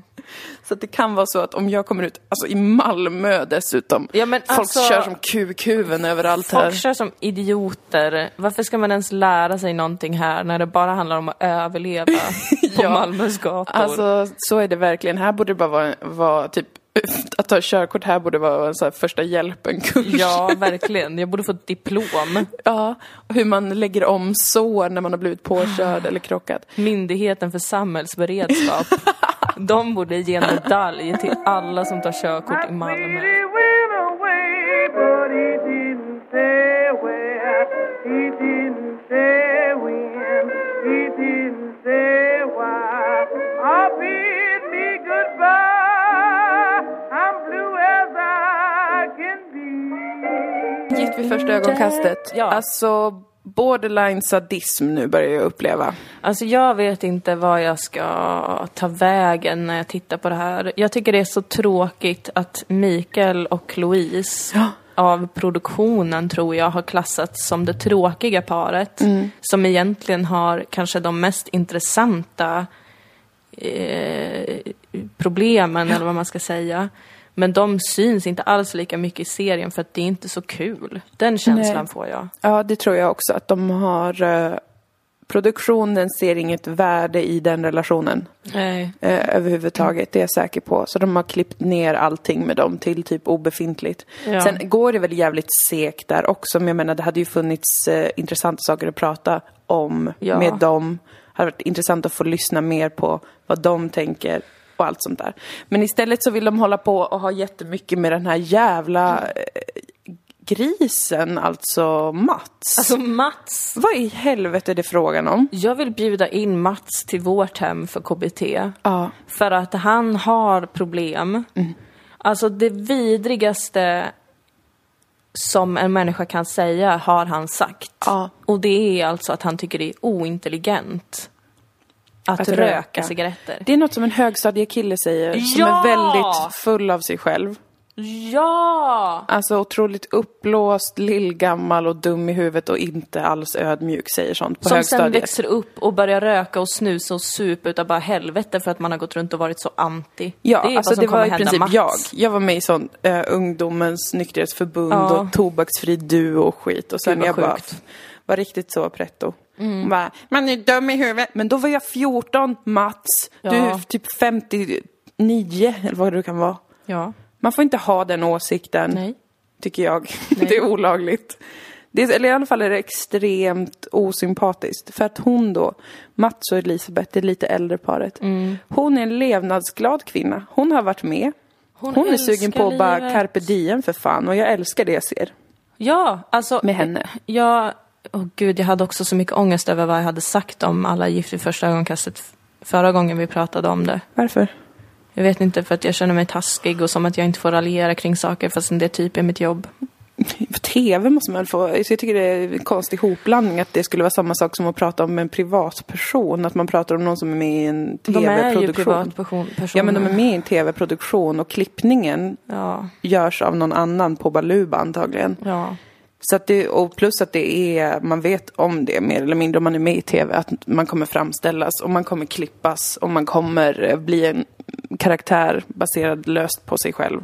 Speaker 1: Så att det kan vara så att om jag kommer ut, alltså i Malmö dessutom,
Speaker 2: Ja, men
Speaker 1: folk
Speaker 2: alltså-
Speaker 1: kör som kukhuvuden överallt här.
Speaker 2: Folk kör som idioter. Varför ska man ens lära sig någonting här när det bara handlar om att överleva på
Speaker 1: Ja.
Speaker 2: Malmös gator?
Speaker 1: Alltså så är det verkligen, här borde det bara vara, vara typ att ta körkort här borde vara en så här första hjälpen-kurs.
Speaker 2: Ja, verkligen. Jag borde få ett diplom.
Speaker 1: Ja, och hur man lägger om sår när man har blivit påkörd eller krockat.
Speaker 2: Myndigheten för samhällsberedskap. De borde ge en medalj till alla som tar körkort i Malmö.
Speaker 3: He went away, but he didn't say where. He didn't say when. He didn't say why. I bid me goodbye. I'm blue as I can be.
Speaker 1: Gift vid första ögonkastet.
Speaker 2: Ja.
Speaker 1: Alltså, borderline sadism nu börjar jag uppleva.
Speaker 2: Alltså jag vet inte vad jag ska ta vägen när jag tittar på det här. Jag tycker det är så tråkigt att Mikael och Louise av produktionen tror jag har klassats som det tråkiga paret. Som egentligen har kanske de mest intressanta eh, problemen eller vad man ska säga. Men de syns inte alls lika mycket i serien för att det är inte så kul. Den känslan
Speaker 1: Nej.
Speaker 2: får jag.
Speaker 1: Ja, det tror jag också. Att de har... Eh, produktionen ser inget värde i den relationen
Speaker 2: Nej.
Speaker 1: eh, överhuvudtaget. Det är jag säker på. Så de har klippt ner allting med dem till typ obefintligt.
Speaker 2: Ja.
Speaker 1: Sen går det väl jävligt segt där också. Men jag menar, det hade ju funnits eh, intressanta saker att prata om
Speaker 2: Ja.
Speaker 1: med dem. Det hade varit intressant att få lyssna mer på vad de tänker och allt sånt där. Men istället så vill de hålla på och ha jättemycket med den här jävla eh, grisen, alltså Mats.
Speaker 2: Alltså Mats
Speaker 1: vad i helvete är det frågan om?
Speaker 2: Jag vill bjuda in Mats till vårt hem för KBT.
Speaker 1: Ja.
Speaker 2: För att han har problem.
Speaker 1: Mm.
Speaker 2: Alltså det vidrigaste som en människa kan säga har han sagt.
Speaker 1: Ja.
Speaker 2: Och det är alltså att han tycker det är ointelligent att,
Speaker 1: Att
Speaker 2: röka,
Speaker 1: röka.
Speaker 2: cigaretter.
Speaker 1: Det är något som en högstadiekille säger, som
Speaker 2: Ja!
Speaker 1: är väldigt full av sig själv.
Speaker 2: Ja!
Speaker 1: Alltså otroligt uppblåst, lillgammal och dum i huvudet och inte alls ödmjuk, säger sånt på
Speaker 2: Som sen
Speaker 1: högstadiet.
Speaker 2: växer upp och börjar röka och snusa och supa utav bara helvete för att man har gått runt och varit så anti.
Speaker 1: Ja,
Speaker 2: är vad
Speaker 1: alltså
Speaker 2: som
Speaker 1: det
Speaker 2: kommer
Speaker 1: var i
Speaker 2: hända
Speaker 1: princip
Speaker 2: Mats.
Speaker 1: jag. Jag var med i sån eh, ungdomens nykterhetsförbund
Speaker 2: Ja.
Speaker 1: och tobaksfri duo och skit. Och sen
Speaker 2: Gud, vad
Speaker 1: jag bara
Speaker 2: sjukt.
Speaker 1: var riktigt så pretto. Mm. Bara, man är dum i huvudet. Men då var jag 14, Mats. Du
Speaker 2: Ja.
Speaker 1: är typ 59 eller vad du kan vara.
Speaker 2: Ja.
Speaker 1: Man får inte ha den åsikten.
Speaker 2: Nej.
Speaker 1: Tycker jag. Det är olagligt. Det är, eller i alla fall är det extremt osympatiskt. För att hon då, Mats och Elisabeth, det lite äldre paret.
Speaker 2: Mm.
Speaker 1: Hon är en levnadsglad kvinna. Hon har varit med. Hon, är sugen
Speaker 2: älskar
Speaker 1: på att bara
Speaker 2: livet.
Speaker 1: carpe diem för fan. Och jag älskar det jag ser
Speaker 2: Ja, alltså...
Speaker 1: med henne.
Speaker 2: Jag, åh gud, jag hade också så mycket ångest över vad jag hade sagt om alla gift i första ögonkastet f- förra gången vi pratade om det.
Speaker 1: Varför?
Speaker 2: Jag vet inte, för att jag känner mig taskig och som att jag inte får raljera kring saker fastän det typ är mitt jobb.
Speaker 1: På TV måste man väl få... Så jag tycker det är en konstig hopblandning att det skulle vara samma sak som att prata om en privatperson. Att man pratar om någon som är med i en
Speaker 2: De är ju
Speaker 1: TV-produktion.
Speaker 2: privatpersoner.
Speaker 1: Ja, men de är med i en tv-produktion och klippningen
Speaker 2: Ja,
Speaker 1: görs av någon annan på Baluba antagligen.
Speaker 2: ja.
Speaker 1: Så att det, och plus att det är, man vet om det mer eller mindre om man är med i tv, att man kommer framställas och man kommer klippas och man kommer eh, bli en karaktär baserad löst på sig själv.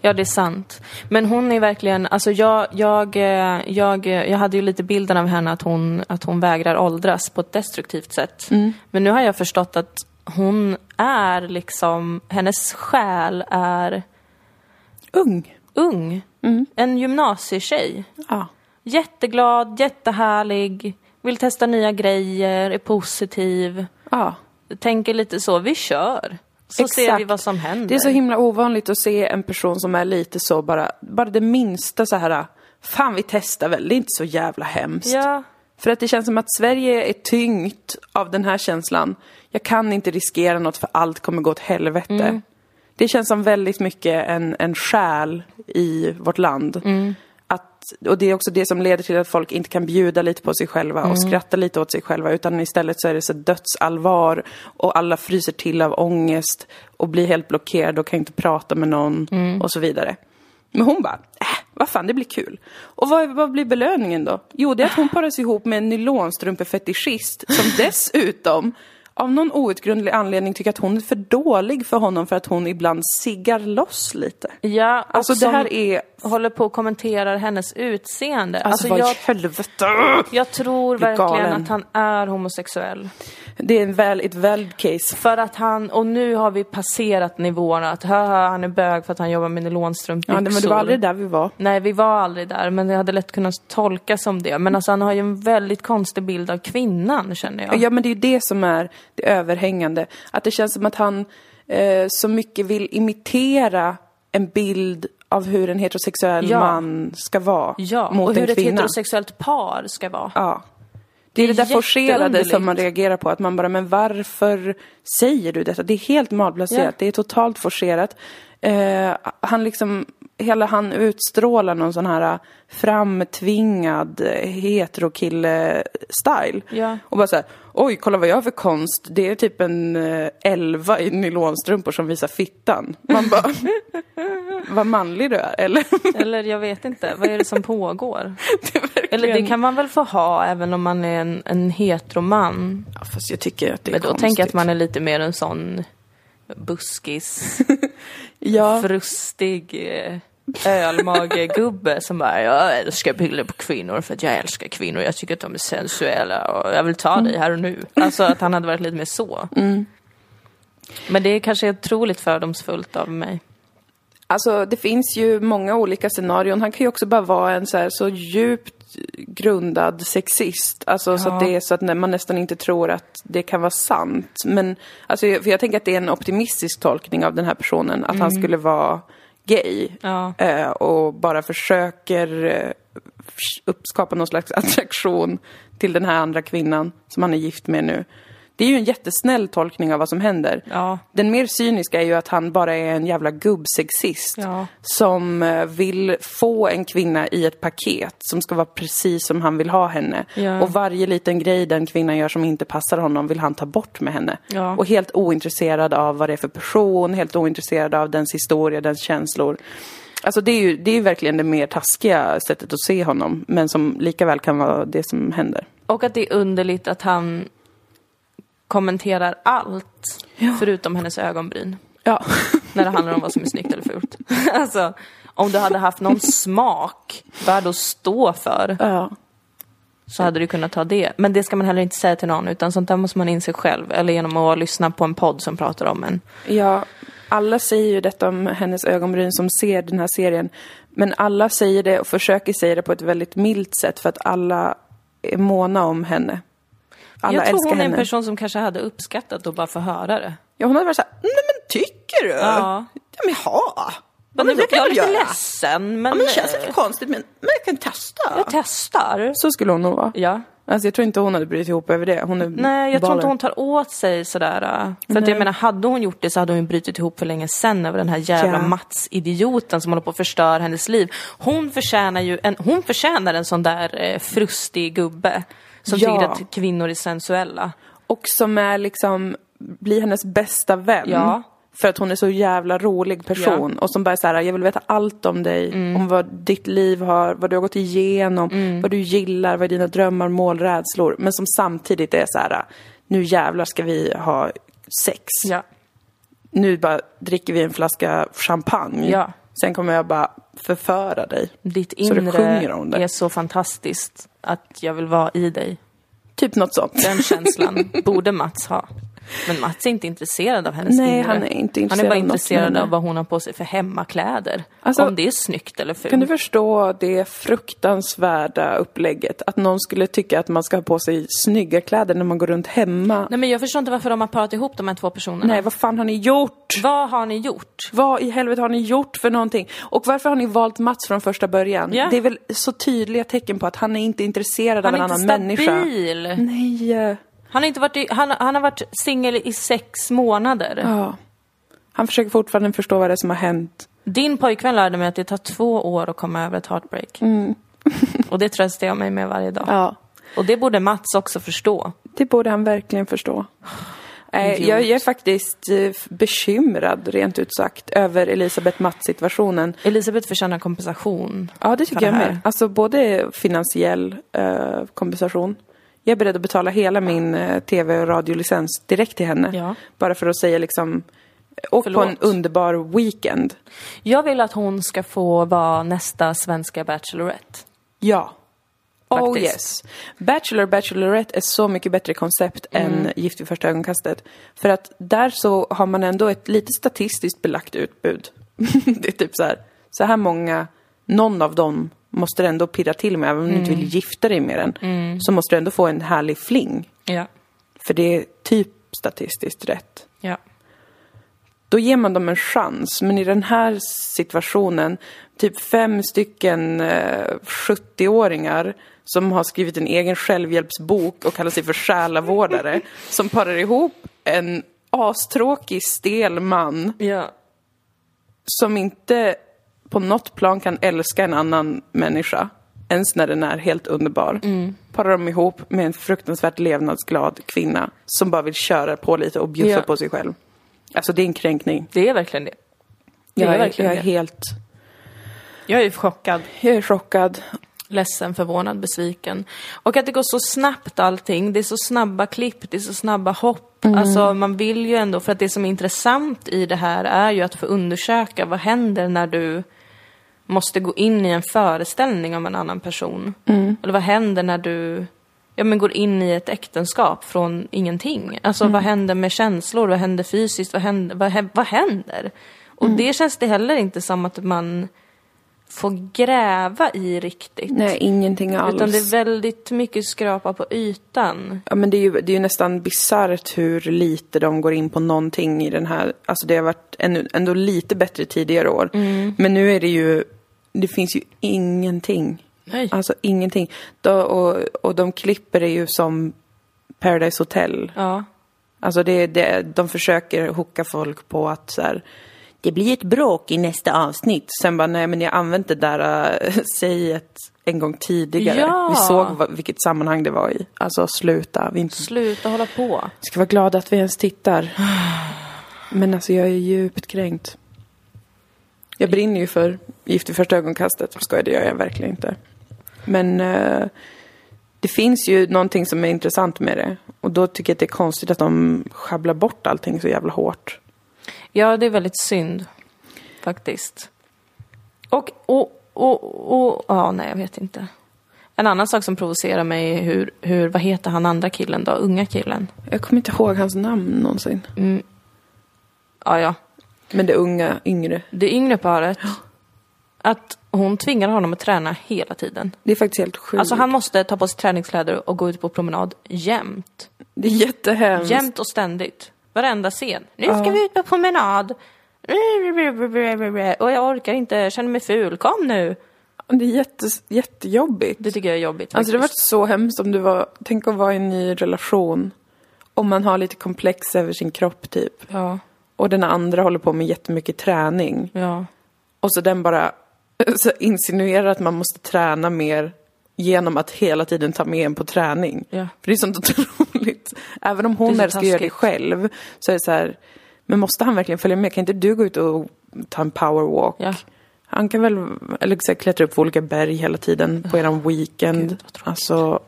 Speaker 2: Ja, det är sant. Men hon är verkligen, alltså jag, jag, eh, jag, eh, jag hade ju lite bilden av henne att hon, att hon vägrar åldras på ett destruktivt sätt.
Speaker 1: Mm.
Speaker 2: Men nu har jag förstått att hon är liksom, hennes själ är
Speaker 1: Ung.
Speaker 2: ung.
Speaker 1: Mm.
Speaker 2: En gymnasietjej.
Speaker 1: Ja.
Speaker 2: Jätteglad, jättehärlig, vill testa nya grejer, är positiv.
Speaker 1: ja.
Speaker 2: Tänker lite så, vi kör. Så ser
Speaker 1: Exakt.
Speaker 2: vi vad som händer.
Speaker 1: Det är så himla ovanligt att se en person som är lite så bara, bara det minsta så här, fan vi testar väl, det är inte så jävla hemskt.
Speaker 2: Ja.
Speaker 1: För att det känns som att Sverige är tyngt av den här känslan. Jag kan inte riskera något för allt kommer gå åt helvete. Det känns som väldigt mycket en, en själ i vårt land. Att, och det är också det som leder till att folk inte kan bjuda lite på sig själva och skratta lite åt sig själva. Utan istället så är det så dödsallvar och alla fryser till av ångest och blir helt blockerade och kan inte prata med någon och så vidare. Men hon bara, äh, vad fan det blir kul. Och vad, vad blir belöningen då? Jo, det är att hon paras ihop med en nylonstrumpefetischist som dessutom av någon outgrundlig anledning tycker att hon är för dålig för honom för att hon ibland siggar loss lite.
Speaker 2: Ja, och
Speaker 1: Alltså
Speaker 2: som-
Speaker 1: det här är
Speaker 2: håller på och kommenterar hennes utseende.
Speaker 1: Alltså,
Speaker 2: Alltså,
Speaker 1: vad i
Speaker 2: jag,
Speaker 1: helvete!
Speaker 2: jag tror
Speaker 1: Blir
Speaker 2: verkligen
Speaker 1: galen.
Speaker 2: att han är homosexuell.
Speaker 1: Det är en väl, ett valid case.
Speaker 2: För att han, och nu har vi passerat nivåerna att haha, han är bög för att han jobbar med nylonstrumpbyxor.
Speaker 1: Ja, men det var aldrig där vi var.
Speaker 2: Nej, vi var aldrig där, men det hade lätt kunnat tolkas som det. Men alltså han har ju en väldigt konstig bild av kvinnan, känner jag.
Speaker 1: Ja, men det är ju det som är det överhängande. Att det känns som att han eh, så mycket vill imitera en bild av hur en heterosexuell
Speaker 2: Ja.
Speaker 1: man ska vara
Speaker 2: Ja,
Speaker 1: mot
Speaker 2: och hur
Speaker 1: en
Speaker 2: ett
Speaker 1: kvinna.
Speaker 2: heterosexuellt par ska vara.
Speaker 1: Ja. Det är det,
Speaker 2: Det är
Speaker 1: där forcerade
Speaker 2: jätteunderligt.
Speaker 1: som man reagerar på. Att man bara, men varför säger du detta? Det är helt malplacerat.
Speaker 2: Ja.
Speaker 1: Det är totalt forcerat. Eh, han liksom, hela han utstrålar någon sån här eh, framtvingad eh, heterokille-style.
Speaker 2: Ja.
Speaker 1: Och bara såhär, oj, kolla vad jag har för konst. Det är typ en eh, elva i nylonstrumpor som visar fittan. Man bara, vad manlig du är, eller?
Speaker 2: Eller jag vet inte, vad är det som pågår?
Speaker 1: Det är verkligen-
Speaker 2: Eller det kan man väl få ha även om man är en, en heteroman?
Speaker 1: Ja, fast jag tycker att det är
Speaker 2: Men då
Speaker 1: konstigt.
Speaker 2: tänker jag att man är lite mer en sån buskis,
Speaker 1: ja.
Speaker 2: frustig eh, ölmagegubbe som bara jag älskar bilder på kvinnor för att jag älskar kvinnor, jag tycker att de är sensuella och jag vill ta dig här och nu. Alltså att han hade varit lite mer så. Men det är kanske är otroligt fördomsfullt av mig.
Speaker 1: Alltså det finns ju många olika scenarion. Han kan ju också bara vara en så här så djupt grundad sexist. Alltså så att det är så att när- man nästan inte tror att det kan vara sant. Men alltså, jag- för jag tänker att det är en optimistisk tolkning av den här personen. Att han skulle vara gay.
Speaker 2: Ja.
Speaker 1: Eh, och bara försöker eh, uppskapa någon slags attraktion till den här andra kvinnan som han är gift med nu. Det är ju en jättesnäll tolkning av vad som händer.
Speaker 2: Ja.
Speaker 1: Den mer cyniska är ju att han bara är en jävla gubbsexist
Speaker 2: Ja.
Speaker 1: som eh, vill få en kvinna i ett paket som ska vara precis som han vill ha henne.
Speaker 2: Ja.
Speaker 1: Och varje liten grej den kvinnan gör som inte passar honom vill han ta bort med henne.
Speaker 2: Ja.
Speaker 1: Och helt ointresserad av vad det är för person, helt ointresserad av dens historia, dens känslor. Alltså det är ju det är ju verkligen det mer taskiga sättet att se honom, men som lika väl kan vara det som händer.
Speaker 2: Och att det är underligt att han kommenterar allt förutom hennes ögonbryn.
Speaker 1: Ja.
Speaker 2: När det handlar om vad som är snyggt eller fult. alltså, om du hade haft någon smak värd att stå för
Speaker 1: ja.
Speaker 2: så hade du kunnat ta det. Men det ska man heller inte säga till någon utan sånt där måste man inse själv. Eller genom att lyssna på en podd som pratar om en.
Speaker 1: Ja, alla säger ju detta om hennes ögonbryn som ser den här serien. Men alla säger det och försöker säga det på ett väldigt milt sätt för att alla är måna om henne. Alla
Speaker 2: jag tror
Speaker 1: älskar
Speaker 2: hon är en
Speaker 1: henne.
Speaker 2: person som kanske hade uppskattat att bara få höra det.
Speaker 1: ja, hon hade varit såhär, nej men tycker du?
Speaker 2: Ja.
Speaker 1: ja men ha. Ja,
Speaker 2: Men
Speaker 1: men
Speaker 2: nu,
Speaker 1: det kan
Speaker 2: jag är
Speaker 1: jag
Speaker 2: lite
Speaker 1: göra.
Speaker 2: ledsen men,
Speaker 1: Ja, men det känns
Speaker 2: eh,
Speaker 1: lite konstigt men, men jag kan testa.
Speaker 2: jag testar.
Speaker 1: Så skulle hon nog vara.
Speaker 2: Ja.
Speaker 1: Alltså jag tror inte hon hade brytt ihop över det. Hon är
Speaker 2: Nej, jag tror
Speaker 1: baller.
Speaker 2: inte hon tar åt sig sådär. äh. För att jag menar, hade hon gjort det så hade hon ju brutit ihop för länge sedan över den här jävla
Speaker 1: Ja.
Speaker 2: Mats-idioten som håller på att förstöra hennes liv. Hon förtjänar ju en, hon förtjänar en sån där eh, frustig gubbe som
Speaker 1: Ja.
Speaker 2: tycker att kvinnor är sensuella.
Speaker 1: Och som är liksom, blir hennes bästa vän.
Speaker 2: Ja.
Speaker 1: För att hon är så jävla rolig person. Och som bara är så här, jag vill veta allt om dig.
Speaker 2: Mm.
Speaker 1: Om vad ditt liv har, vad du har gått igenom, vad du gillar, vad är dina drömmar, mål, rädslor. Men som samtidigt är så här, nu jävlar ska vi ha sex.
Speaker 2: Ja.
Speaker 1: Nu bara dricker vi en flaska champagne.
Speaker 2: Ja.
Speaker 1: Sen kommer jag bara förföra dig.
Speaker 2: Ditt
Speaker 1: Så det
Speaker 2: inre
Speaker 1: sjunger om det.
Speaker 2: är så fantastiskt att jag vill vara i dig.
Speaker 1: Typ något sånt.
Speaker 2: Den känslan borde Mats ha. Men Mats är inte intresserad av hennes
Speaker 1: Nej,
Speaker 2: inre.
Speaker 1: han är inte
Speaker 2: Han
Speaker 1: intresserad
Speaker 2: är bara
Speaker 1: av något med
Speaker 2: intresserad
Speaker 1: henne.
Speaker 2: av vad hon har på sig för hemmakläder.
Speaker 1: Alltså,
Speaker 2: Om det är snyggt eller fult.
Speaker 1: Kan du förstå det fruktansvärda upplägget? Att någon skulle tycka att man ska ha på sig snygga kläder när man går runt hemma. Nej,
Speaker 2: Nej men jag förstår inte varför de har parat ihop de här två personerna.
Speaker 1: vad fan har ni gjort?
Speaker 2: Vad har ni gjort?
Speaker 1: Vad i helvete har ni gjort för någonting? Och varför har ni valt Mats från första början?
Speaker 2: Ja.
Speaker 1: Det är väl så tydliga tecken på att han är inte intresserad
Speaker 2: Han
Speaker 1: av
Speaker 2: är
Speaker 1: en
Speaker 2: inte
Speaker 1: annan människa.
Speaker 2: stabil.
Speaker 1: Nej. eh,
Speaker 2: Han har, inte varit i, han, han har varit singel i sex månader.
Speaker 1: Ja. Han försöker fortfarande förstå vad det är som har hänt.
Speaker 2: Din pojkvän lärde mig att det tar två år att komma över ett heartbreak.
Speaker 1: Mm.
Speaker 2: Och det tröstar jag mig med varje dag.
Speaker 1: Ja.
Speaker 2: Och det borde Mats också förstå.
Speaker 1: Det borde han verkligen förstå. Eh,
Speaker 2: Idiot.
Speaker 1: jag, jag är faktiskt eh, bekymrad, rent ut sagt, över Elisabeth Mats-situationen.
Speaker 2: Elisabeth förtjänar kompensation.
Speaker 1: Ja, det tycker
Speaker 2: för
Speaker 1: jag
Speaker 2: det här.
Speaker 1: med. Alltså både finansiell eh, kompensation. Jag är beredd att betala hela min eh, tv och radiolicens direkt till henne.
Speaker 2: Ja.
Speaker 1: Bara för att säga liksom Åk på en
Speaker 2: Förlåt.
Speaker 1: underbar weekend.
Speaker 2: Jag vill att hon ska få vara nästa svenska Bachelorette.
Speaker 1: Ja. Oh
Speaker 2: Faktiskt.
Speaker 1: yes. Bachelor, Bachelorette är så mycket bättre koncept än Gift vid första ögonkastet. För att där så har man ändå ett lite statistiskt belagt utbud. det är typ så här, så här många, någon av dem måste du ändå pirra till med, även om du inte vill gifta dig med den. Så måste du ändå få en härlig fling.
Speaker 2: Ja.
Speaker 1: För det är typ statistiskt rätt
Speaker 2: Ja.
Speaker 1: då ger man dem en chans. Men i den här situationen, typ fem stycken eh, 70-åringar som har skrivit en egen självhjälpsbok och kallar sig för själavårdare, som parar ihop en astråkig, stel man
Speaker 2: Ja.
Speaker 1: som inte på något plan kan älska en annan människa, ens när den är helt underbar, parar de ihop med en fruktansvärt levnadsglad kvinna som bara vill köra på lite och bjussa
Speaker 2: Ja.
Speaker 1: på sig själv. Alltså det är en kränkning.
Speaker 2: Det är verkligen det. Det
Speaker 1: Jag
Speaker 2: är
Speaker 1: är,
Speaker 2: verkligen
Speaker 1: jag är
Speaker 2: det.
Speaker 1: helt
Speaker 2: Jag är chockad.
Speaker 1: jag är chockad.
Speaker 2: ledsen, förvånad, besviken. Och att det går så snabbt allting. Det är så snabba klipp, det är så snabba hopp. Alltså man vill ju ändå, för att det som är intressant i det här är ju att få undersöka vad händer när du måste gå in i en föreställning om en annan person. Eller vad händer när du ja, men går in i ett äktenskap från ingenting? Alltså vad händer med känslor? Vad händer fysiskt? Vad händer? Vad, hä- vad händer? Och det känns det heller inte som att man får gräva i riktigt.
Speaker 1: Nej, ingenting alls.
Speaker 2: Utan det är väldigt mycket skrapa på ytan.
Speaker 1: ja, men det, är ju, det är ju nästan bisarrt hur lite de går in på någonting i den här. Alltså det har varit ännu, ändå lite bättre tidigare år.
Speaker 2: Mm.
Speaker 1: Men nu är det ju, det finns ju ingenting.
Speaker 2: Nej.
Speaker 1: Alltså ingenting. Då, och, och de klipper det ju som Paradise Hotel.
Speaker 2: Ja.
Speaker 1: Alltså det, det, de försöker hooka folk på att så här, det blir ett bråk i nästa avsnitt. Sen bara, nej men jag har använt det där äh, säget en gång tidigare.
Speaker 2: Ja.
Speaker 1: Vi såg vad, vilket sammanhang det var i. Alltså sluta, vi inte,
Speaker 2: Sluta hålla på.
Speaker 1: ska vara glada att vi ens tittar. Men alltså jag är djupt kränkt. Jag brinner ju för Gift i första ögonkastet. Ska det gör jag verkligen inte. Men eh, det finns ju någonting som är intressant med det. Och då tycker jag att det är konstigt att de sjabblar bort allting så jävla hårt.
Speaker 2: Ja, det är väldigt synd. Faktiskt. Och, och, och, och ja, nej, jag vet inte. En annan sak som provocerar mig är hur, hur, vad heter han andra killen då? Unga killen? Mm.
Speaker 1: Jag kommer inte ihåg hans namn någonsin.
Speaker 2: Ja, ja.
Speaker 1: Men det unga, yngre.
Speaker 2: Det yngre paret. Att hon tvingar honom att träna hela tiden.
Speaker 1: Det är faktiskt helt sjukt.
Speaker 2: Alltså han måste ta på sig träningskläder och gå ut på promenad jämt.
Speaker 1: Det är jättehemskt.
Speaker 2: Jämt och ständigt. Varenda scen. Nu ska vi ut på promenad. Och jag orkar inte, jag känner mig ful. Kom nu!
Speaker 1: Det är jätte, jättejobbigt.
Speaker 2: Det tycker jag är jobbigt
Speaker 1: Alltså det var
Speaker 2: faktiskt.
Speaker 1: så hemskt om du var, tänk att vara i en ny relation. Om man har lite komplex över sin kropp typ.
Speaker 2: Ja,
Speaker 1: Och den andra håller på med jättemycket träning.
Speaker 2: ja.
Speaker 1: Och så den bara så insinuerar att man måste träna mer genom att hela tiden ta med en på träning.
Speaker 2: Ja.
Speaker 1: För det är sånt otroligt. Även om hon
Speaker 2: Det är så
Speaker 1: är ska göra det
Speaker 2: taskigt.
Speaker 1: själv så är det så här, men måste han verkligen följa med? Kan inte du gå ut och ta en powerwalk?
Speaker 2: Ja.
Speaker 1: Han kan väl eller, så här, klättra upp på olika berg hela tiden på eran weekend.
Speaker 2: Gud, vad tråkigt.
Speaker 1: alltså,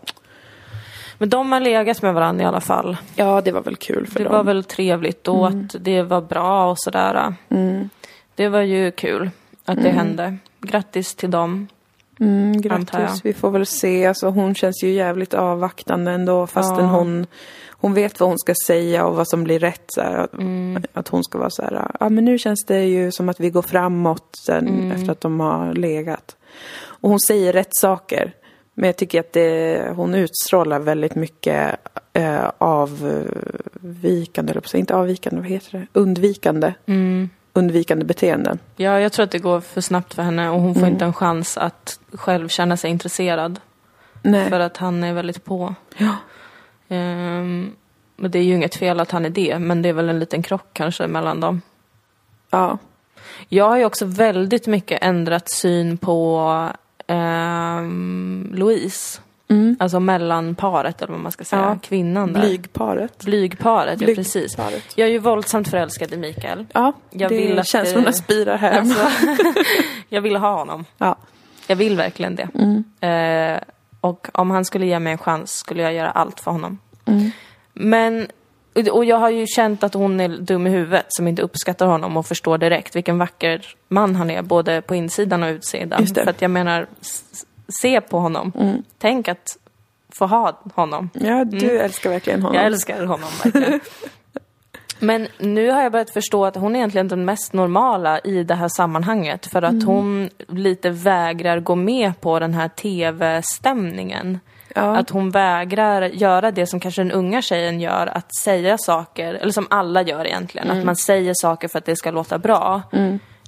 Speaker 2: Men de har legat med varandra i alla fall.
Speaker 1: ja det var väl kul för
Speaker 2: Det
Speaker 1: dem. Mm.
Speaker 2: var väl trevligt och att det var bra och sådär. Det var ju kul att det hände. Grattis till dem.
Speaker 1: Mm,
Speaker 2: antar jag.
Speaker 1: grattis. Vi får väl se. Alltså, hon känns ju jävligt avvaktande ändå fastän hon, hon vet vad hon ska säga och vad som blir rätt. Så här, att,
Speaker 2: Mm.
Speaker 1: att hon ska vara så här, ja ah, men nu känns det ju som att vi går framåt sen
Speaker 2: Mm.
Speaker 1: efter att de har legat. Och hon säger rätt saker. Men jag tycker att det, hon utstrålar väldigt mycket eh, avvikande, eller inte avvikande, vad heter det? Undvikande.
Speaker 2: Mm.
Speaker 1: Undvikande beteenden.
Speaker 2: Ja, jag tror att det går för snabbt för henne och hon
Speaker 1: Mm.
Speaker 2: får inte en chans att själv känna sig intresserad.
Speaker 1: Nej.
Speaker 2: För att han är väldigt på.
Speaker 1: Ja.
Speaker 2: Ehm, men det är ju inget fel att han är det, men det är väl en liten krock kanske mellan dem.
Speaker 1: ja.
Speaker 2: Jag har ju också väldigt mycket ändrat syn på ehm, Louise. Alltså mellanparet eller vad man ska säga.
Speaker 1: Ja.
Speaker 2: Kvinnan där.
Speaker 1: Blygparet.
Speaker 2: Blygparet, ja precis.
Speaker 1: Blygparet.
Speaker 2: Jag är ju våldsamt förälskad i Mikael.
Speaker 1: Ja,
Speaker 2: Jag
Speaker 1: det
Speaker 2: vill att eh,
Speaker 1: känslorna
Speaker 2: det-
Speaker 1: spirar hem.
Speaker 2: Alltså, jag vill ha honom.
Speaker 1: Ja.
Speaker 2: Jag vill verkligen det.
Speaker 1: Mm.
Speaker 2: Eh,
Speaker 1: Mm.
Speaker 2: och om han skulle ge mig en chans skulle jag göra allt för honom. Men Och- Och jag har ju känt att hon är dum i huvudet som inte uppskattar honom och förstår direkt vilken vacker man han är, både på insidan och utsidan.
Speaker 1: Just det. Mm.
Speaker 2: För att jag menar, s- s- se på honom. Tänk att få ha honom.
Speaker 1: Ja, du älskar verkligen honom.
Speaker 2: Mm. Jag älskar honom verkligen. Men nu har jag börjat förstå att hon är egentligen den mest normala i det här sammanhanget. För
Speaker 1: Mm.
Speaker 2: att hon lite vägrar gå med på den här tv-stämningen.
Speaker 1: Ja.
Speaker 2: Att hon vägrar göra det som kanske den unga tjejen gör, att säga saker, eller som alla gör egentligen,
Speaker 1: Mm.
Speaker 2: att man säger saker för att det ska låta bra.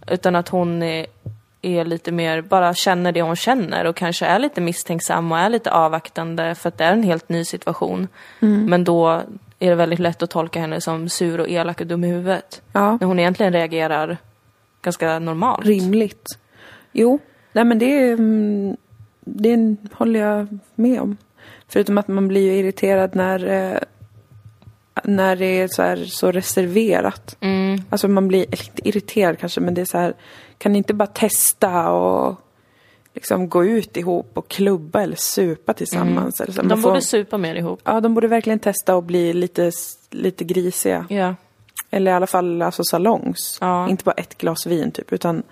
Speaker 2: Utan att hon är, är lite mer, bara känner det hon känner och kanske är lite misstänksam och är lite avvaktande för att det är en helt ny situation.
Speaker 1: Mm.
Speaker 2: Men då är det väldigt lätt att tolka henne som sur och elak och dum i huvudet.
Speaker 1: Ja.
Speaker 2: När hon egentligen reagerar ganska normalt.
Speaker 1: Rimligt. Jo, nej men det, är, mm, det håller jag med om. Förutom att man blir ju irriterad när, eh, när det är så, här, så reserverat. Mm. Alltså man blir, eller inte irriterad kanske, men det är så här, kan ni inte bara testa och liksom gå ut ihop och klubba eller supa tillsammans? Eller så. Man
Speaker 2: Mm. De borde
Speaker 1: får-
Speaker 2: supa mer ihop.
Speaker 1: Ja, de borde verkligen testa och bli lite, s- lite grisiga.
Speaker 2: Ja,
Speaker 1: Eller i alla fall alltså salongs.
Speaker 2: Ja.
Speaker 1: Inte bara ett glas vin typ, utan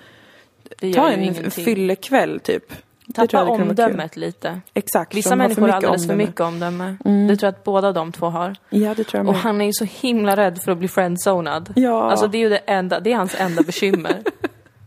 Speaker 2: det gör
Speaker 1: Ta
Speaker 2: ju
Speaker 1: en
Speaker 2: ingenting.
Speaker 1: fyllekväll typ. Det tror
Speaker 2: Tappa
Speaker 1: jag hade kunnat vara kul.
Speaker 2: omdömet lite.
Speaker 1: Exakt.
Speaker 2: Vissa
Speaker 1: de har för
Speaker 2: människor har
Speaker 1: mycket
Speaker 2: alldeles för
Speaker 1: omdöme. Mm.
Speaker 2: mycket omdöme. Det tror jag att båda de två har.
Speaker 1: Ja, det tror jag
Speaker 2: Och
Speaker 1: med.
Speaker 2: han är ju så himla rädd för att bli friendzonad.
Speaker 1: Ja.
Speaker 2: Alltså det är ju det enda, det är hans enda bekymmer.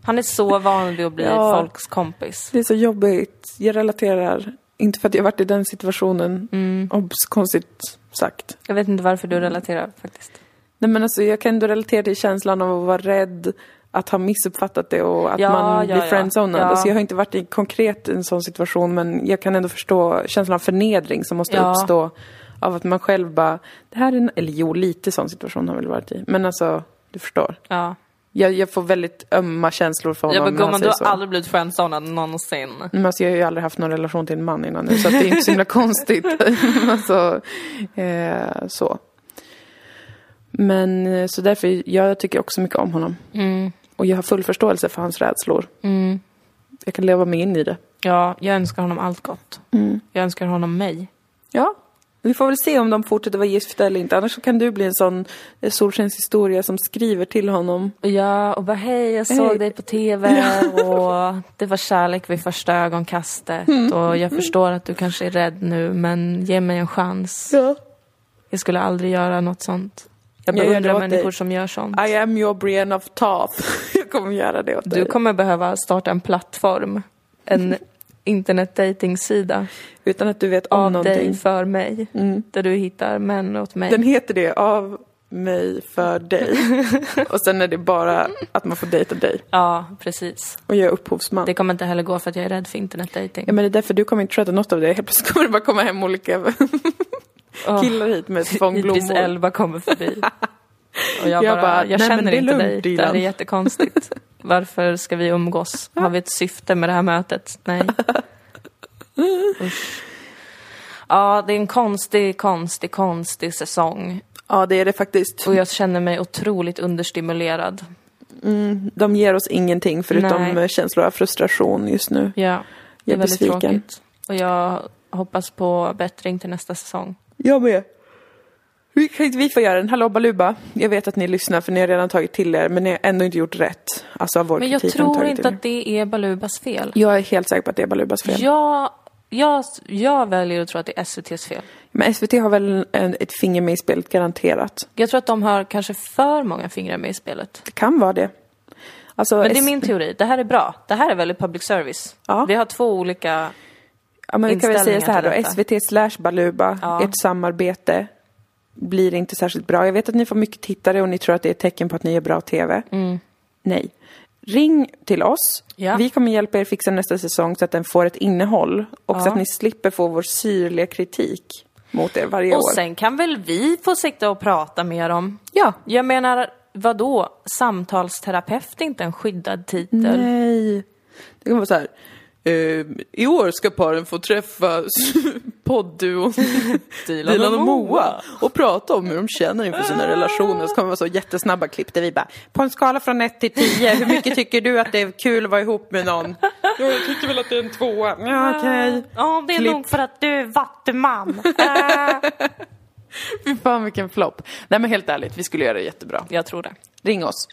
Speaker 2: han är så van vid att bli
Speaker 1: Ja.
Speaker 2: folks kompis.
Speaker 1: Det är så jobbigt. Jag relaterar. Inte för att jag varit i den situationen.
Speaker 2: Mm.
Speaker 1: Obs, konstigt sagt.
Speaker 2: Jag vet inte varför du relaterar faktiskt.
Speaker 1: Nej men alltså jag kan ändå relatera till känslan av att vara rädd att ha missuppfattat det och att
Speaker 2: Ja,
Speaker 1: man
Speaker 2: ja,
Speaker 1: blir
Speaker 2: ja.
Speaker 1: friendzonad.
Speaker 2: Ja.
Speaker 1: Alltså jag har inte varit i konkret en sån situation men jag kan ändå förstå känslan av förnedring som måste
Speaker 2: Ja.
Speaker 1: uppstå av att man själv bara, det här är en, eller jo lite sån situation har jag väl varit i. Men alltså, du förstår.
Speaker 2: Ja.
Speaker 1: Jag, jag får väldigt ömma känslor för honom.
Speaker 2: Jag bara,
Speaker 1: när han
Speaker 2: gumman du
Speaker 1: säger så.
Speaker 2: har aldrig blivit friendzonad någonsin.
Speaker 1: Men alltså, jag har ju aldrig haft någon relation till en man innan nu, så att det är inte så himla konstigt. alltså, eh, så. Men eh, så därför, jag tycker också mycket om honom. Och jag har full förståelse för hans rädslor.
Speaker 2: Mm.
Speaker 1: Jag kan leva mig in i det.
Speaker 2: Ja, jag önskar honom allt gott. Jag önskar honom mig.
Speaker 1: Ja. Vi får väl se om de fortsätter vara gifta eller inte. Annars så kan du bli en sån eh, solskenshistoria som skriver till honom.
Speaker 2: Ja, och bara hej, jag såg
Speaker 1: Hej.
Speaker 2: dig på TV och det var kärlek vid första ögonkastet och jag förstår att du kanske är rädd nu men ge mig en chans.
Speaker 1: Ja.
Speaker 2: Jag skulle aldrig göra något sånt. Jag
Speaker 1: Jag gör det
Speaker 2: beundrar
Speaker 1: åt
Speaker 2: människor
Speaker 1: dig.
Speaker 2: som gör sånt.
Speaker 1: I am your Brienne of Tarth. jag kommer göra det åt dig.
Speaker 2: Du kommer behöva starta en plattform, en internetdatingsida
Speaker 1: Utan att du vet om
Speaker 2: av
Speaker 1: någonting.
Speaker 2: dig för mig.
Speaker 1: Mm.
Speaker 2: Där du hittar män åt mig.
Speaker 1: Den heter det, Av mig för dig. och sen är det bara att man får dejta dig.
Speaker 2: Ja, precis.
Speaker 1: Och jag är upphovsman.
Speaker 2: Det kommer inte heller gå för att jag är rädd för internetdating.
Speaker 1: Ja men det är därför du kommer inte sköta något av det. Helt plötsligt kommer det bara komma hem olika killar hit med
Speaker 2: Idris
Speaker 1: fångblommor.
Speaker 2: Elba kommer förbi. Och jag,
Speaker 1: Jag
Speaker 2: bara,
Speaker 1: bara,
Speaker 2: jag
Speaker 1: "Nej,
Speaker 2: känner
Speaker 1: men det är
Speaker 2: inte
Speaker 1: lugnt,
Speaker 2: dig. Det här
Speaker 1: Dilan."
Speaker 2: är jättekonstigt. Varför ska vi umgås? Har vi ett syfte med det här mötet? Nej. Usch. Ja, det är en konstig, konstig, konstig säsong.
Speaker 1: Ja det är det faktiskt.
Speaker 2: Och jag känner mig otroligt understimulerad.
Speaker 1: De ger oss ingenting förutom eh,
Speaker 2: Nej.
Speaker 1: känslor av frustration just nu.
Speaker 2: Ja, det
Speaker 1: Jag
Speaker 2: är
Speaker 1: är
Speaker 2: väldigt
Speaker 1: besviken.
Speaker 2: tråkigt. Och jag hoppas på bättring till nästa säsong.
Speaker 1: Jag med. Vi kan inte vi få göra en hallå baluba? Jag vet att ni lyssnar för ni har redan tagit till er men ni har ändå inte gjort rätt. Alltså av vår
Speaker 2: Men jag
Speaker 1: kritik har ni
Speaker 2: tror
Speaker 1: tagit
Speaker 2: inte
Speaker 1: till er.
Speaker 2: att det är Balubas fel.
Speaker 1: Jag är helt säker på att det är Balubas fel.
Speaker 2: Jag, jag, jag väljer att tro att det är SVTs fel.
Speaker 1: Men SVT har väl en, ett finger med i spelet garanterat.
Speaker 2: Jag tror att de har kanske för många fingrar med i spelet.
Speaker 1: Det kan vara det. Alltså,
Speaker 2: Men det är
Speaker 1: S-
Speaker 2: min teori. Det här är bra. Det här är väldigt public service.
Speaker 1: Ja.
Speaker 2: Vi har två olika...
Speaker 1: ja, men vi kan väl säga så här
Speaker 2: inställningar
Speaker 1: då.
Speaker 2: till
Speaker 1: SVT slash Baluba,
Speaker 2: Ja.
Speaker 1: ert samarbete blir inte särskilt bra. Jag vet att ni får mycket tittare och ni tror att det är ett tecken på att ni gör bra TV. Nej. Ring till oss.
Speaker 2: Mm. Ja.
Speaker 1: Vi kommer hjälpa er fixa nästa säsong så att den får ett innehåll och så
Speaker 2: Ja.
Speaker 1: att ni slipper få vår syrliga kritik mot er varje
Speaker 2: Och
Speaker 1: år.
Speaker 2: sen kan väl vi få sitta och prata mer om...
Speaker 1: Ja.
Speaker 2: Jag menar, vad då? Samtalsterapeut är inte en skyddad titel.
Speaker 1: Nej. Det kommer vara så här. eh, I år ska paren få träffa poddduon
Speaker 2: Dilan
Speaker 1: Dilan och Moa och prata om hur de känner inför sina relationer. Så kommer det vara så jättesnabba klipp där vi bara, på en skala från 1 till 10, hur mycket tycker du att det är kul att vara ihop med någon? Jo, jag tycker väl att det är en tvåa. Ja, okej.
Speaker 2: Ja, det är
Speaker 1: Klipp.
Speaker 2: nog för att du är vattuman.
Speaker 1: Fy fan vilken flopp. Nej men helt ärligt, vi skulle göra det jättebra.
Speaker 2: Jag tror det.
Speaker 1: Ring oss.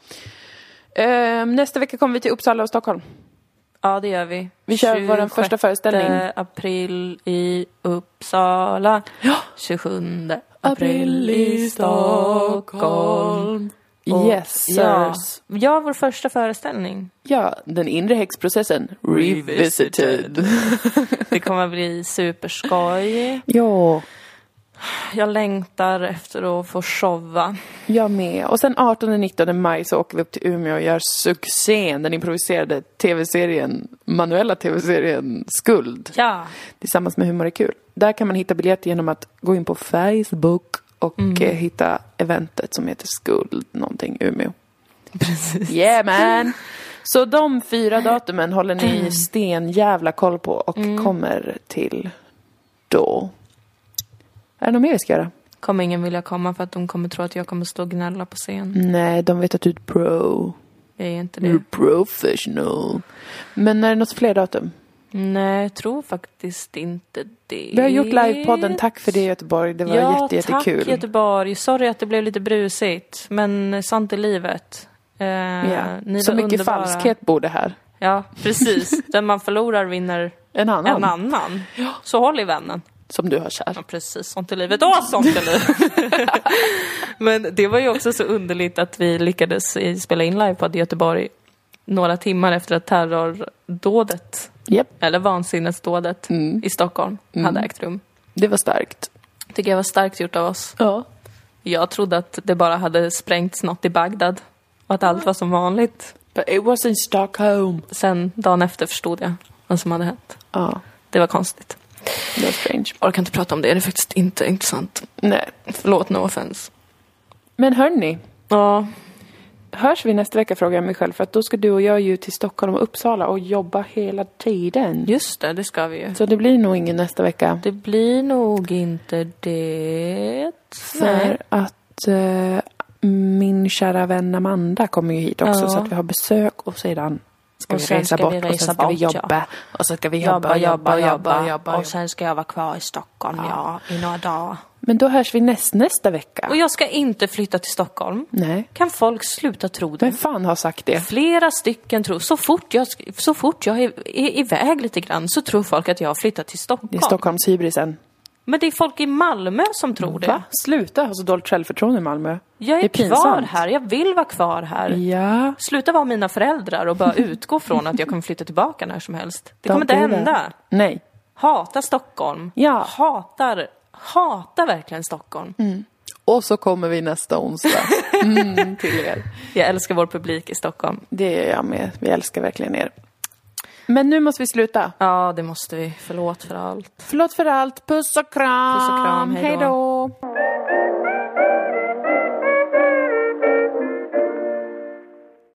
Speaker 1: Ehm, nästa vecka kommer vi till Uppsala och Stockholm.
Speaker 2: Ja, det gör vi.
Speaker 1: Vi kör vår första föreställning.
Speaker 2: 26 april i Uppsala. 27 april i Stockholm. Och-
Speaker 1: Yes
Speaker 2: Ja.
Speaker 1: sirs.
Speaker 2: ja, vår första föreställning.
Speaker 1: Ja, den inre häxprocessen. Revisited.
Speaker 2: Det kommer bli superskoj.
Speaker 1: ja,
Speaker 2: Jag längtar efter att få showa.
Speaker 1: jag med. Och sen 18-19 maj så åker vi upp till Umeå och gör succén, den improviserade tv-serien, manuella tv-serien Skuld.
Speaker 2: Ja.
Speaker 1: Tillsammans med Humor är kul. Där kan man hitta biljetter genom att gå in på Facebook och
Speaker 2: Mm.
Speaker 1: eh, hitta eventet som heter Skuld någonting Umeå.
Speaker 2: Precis.
Speaker 1: Yeah man! Så de fyra datumen håller
Speaker 2: Mm.
Speaker 1: ni stenjävla koll på och kommer till då. Är det något mer vi ska göra?
Speaker 2: Kommer ingen vilja komma för att de kommer tro att jag kommer stå och gnälla på scen.
Speaker 1: Nej, de vet att du är ett pro.
Speaker 2: Jag är inte
Speaker 1: Du är
Speaker 2: det.
Speaker 1: professional. Men är det något fler datum?
Speaker 2: Nej, jag tror faktiskt inte det.
Speaker 1: Vi har gjort livepodden, tack för det Göteborg. Det var
Speaker 2: ja,
Speaker 1: jätte, jättekul.
Speaker 2: tack Göteborg. Sorry att det blev lite brusigt, men sånt är livet. Eh,
Speaker 1: Ja.
Speaker 2: ni
Speaker 1: Så
Speaker 2: var
Speaker 1: mycket
Speaker 2: underbara.
Speaker 1: falskhet bor det här.
Speaker 2: Ja, precis. Den man förlorar vinner
Speaker 1: En annan,
Speaker 2: en annan. Så håll i vännen.
Speaker 1: som du har kär.
Speaker 2: Ja, precis. Sånt är livet. Åh, sånt är livet! Men det var ju också så underligt att vi lyckades i- spela in livepodd i Göteborg några timmar efter att terrordådet,
Speaker 1: Japp, Mm.
Speaker 2: eller vansinnesdådet, i Stockholm hade ägt rum.
Speaker 1: det var starkt.
Speaker 2: Mm. Tycker jag var starkt gjort av oss.
Speaker 1: Ja.
Speaker 2: Jag trodde att det bara hade sprängts något i Bagdad och att allt var som vanligt.
Speaker 1: But it was in Stockholm.
Speaker 2: Sen dagen efter förstod jag vad som hade hänt.
Speaker 1: Ja,
Speaker 2: Det var konstigt.
Speaker 1: det var strange.
Speaker 2: Orkar inte prata om det, det är faktiskt inte intressant.
Speaker 1: Nej.
Speaker 2: Förlåt, no offense.
Speaker 1: Men hörni,
Speaker 2: Ja,
Speaker 1: hörs vi nästa vecka frågar jag mig själv för att då ska du och jag ju till Stockholm och Uppsala och jobba hela tiden.
Speaker 2: just det, det ska vi ju.
Speaker 1: Så det blir nog ingen nästa vecka.
Speaker 2: Det blir nog inte det. Nej.
Speaker 1: För att eh, min kära vän Amanda kommer ju hit också
Speaker 2: Ja.
Speaker 1: så att vi har besök och sedan ska
Speaker 2: Och
Speaker 1: vi
Speaker 2: sen
Speaker 1: resa
Speaker 2: ska
Speaker 1: bort
Speaker 2: vi
Speaker 1: och
Speaker 2: resa
Speaker 1: sen ska vi
Speaker 2: bort, ja.
Speaker 1: jobba. Och så ska vi jobba, jobba, jobba, jobba.
Speaker 2: Och sen ska jag vara kvar i Stockholm, ja, i några dagar.
Speaker 1: Men då hörs vi näst, nästa vecka.
Speaker 2: Och jag ska inte flytta till Stockholm.
Speaker 1: Nej.
Speaker 2: Kan folk sluta tro det?
Speaker 1: Vem fan har sagt det?
Speaker 2: Flera stycken tror, så fort jag, sk- så fort jag är, är iväg lite grann så tror folk att jag har flyttat till Stockholm.
Speaker 1: Det är Stockholmshybrisen.
Speaker 2: Men det är folk i Malmö som tror det.
Speaker 1: Va? Sluta ha så dåligt självförtroende i Malmö.
Speaker 2: Jag är,
Speaker 1: det är
Speaker 2: kvar
Speaker 1: pinsamt.
Speaker 2: här, jag vill vara kvar här.
Speaker 1: Ja.
Speaker 2: Sluta vara mina föräldrar och bara utgå från att jag kommer flytta tillbaka när som helst. Det kommer
Speaker 1: Don't
Speaker 2: inte
Speaker 1: do that.
Speaker 2: hända.
Speaker 1: Nej.
Speaker 2: Hata Stockholm.
Speaker 1: Ja.
Speaker 2: Hatar, hatar verkligen Stockholm.
Speaker 1: Och så kommer vi nästa onsdag. Mm, till er.
Speaker 2: Jag älskar vår publik i Stockholm.
Speaker 1: Det gör jag med. Vi älskar verkligen er. Men nu måste vi sluta.
Speaker 2: Ja, det måste vi. Förlåt för allt.
Speaker 1: Förlåt för allt. Puss och kram.
Speaker 2: Puss och kram, hej då.
Speaker 1: Hej då.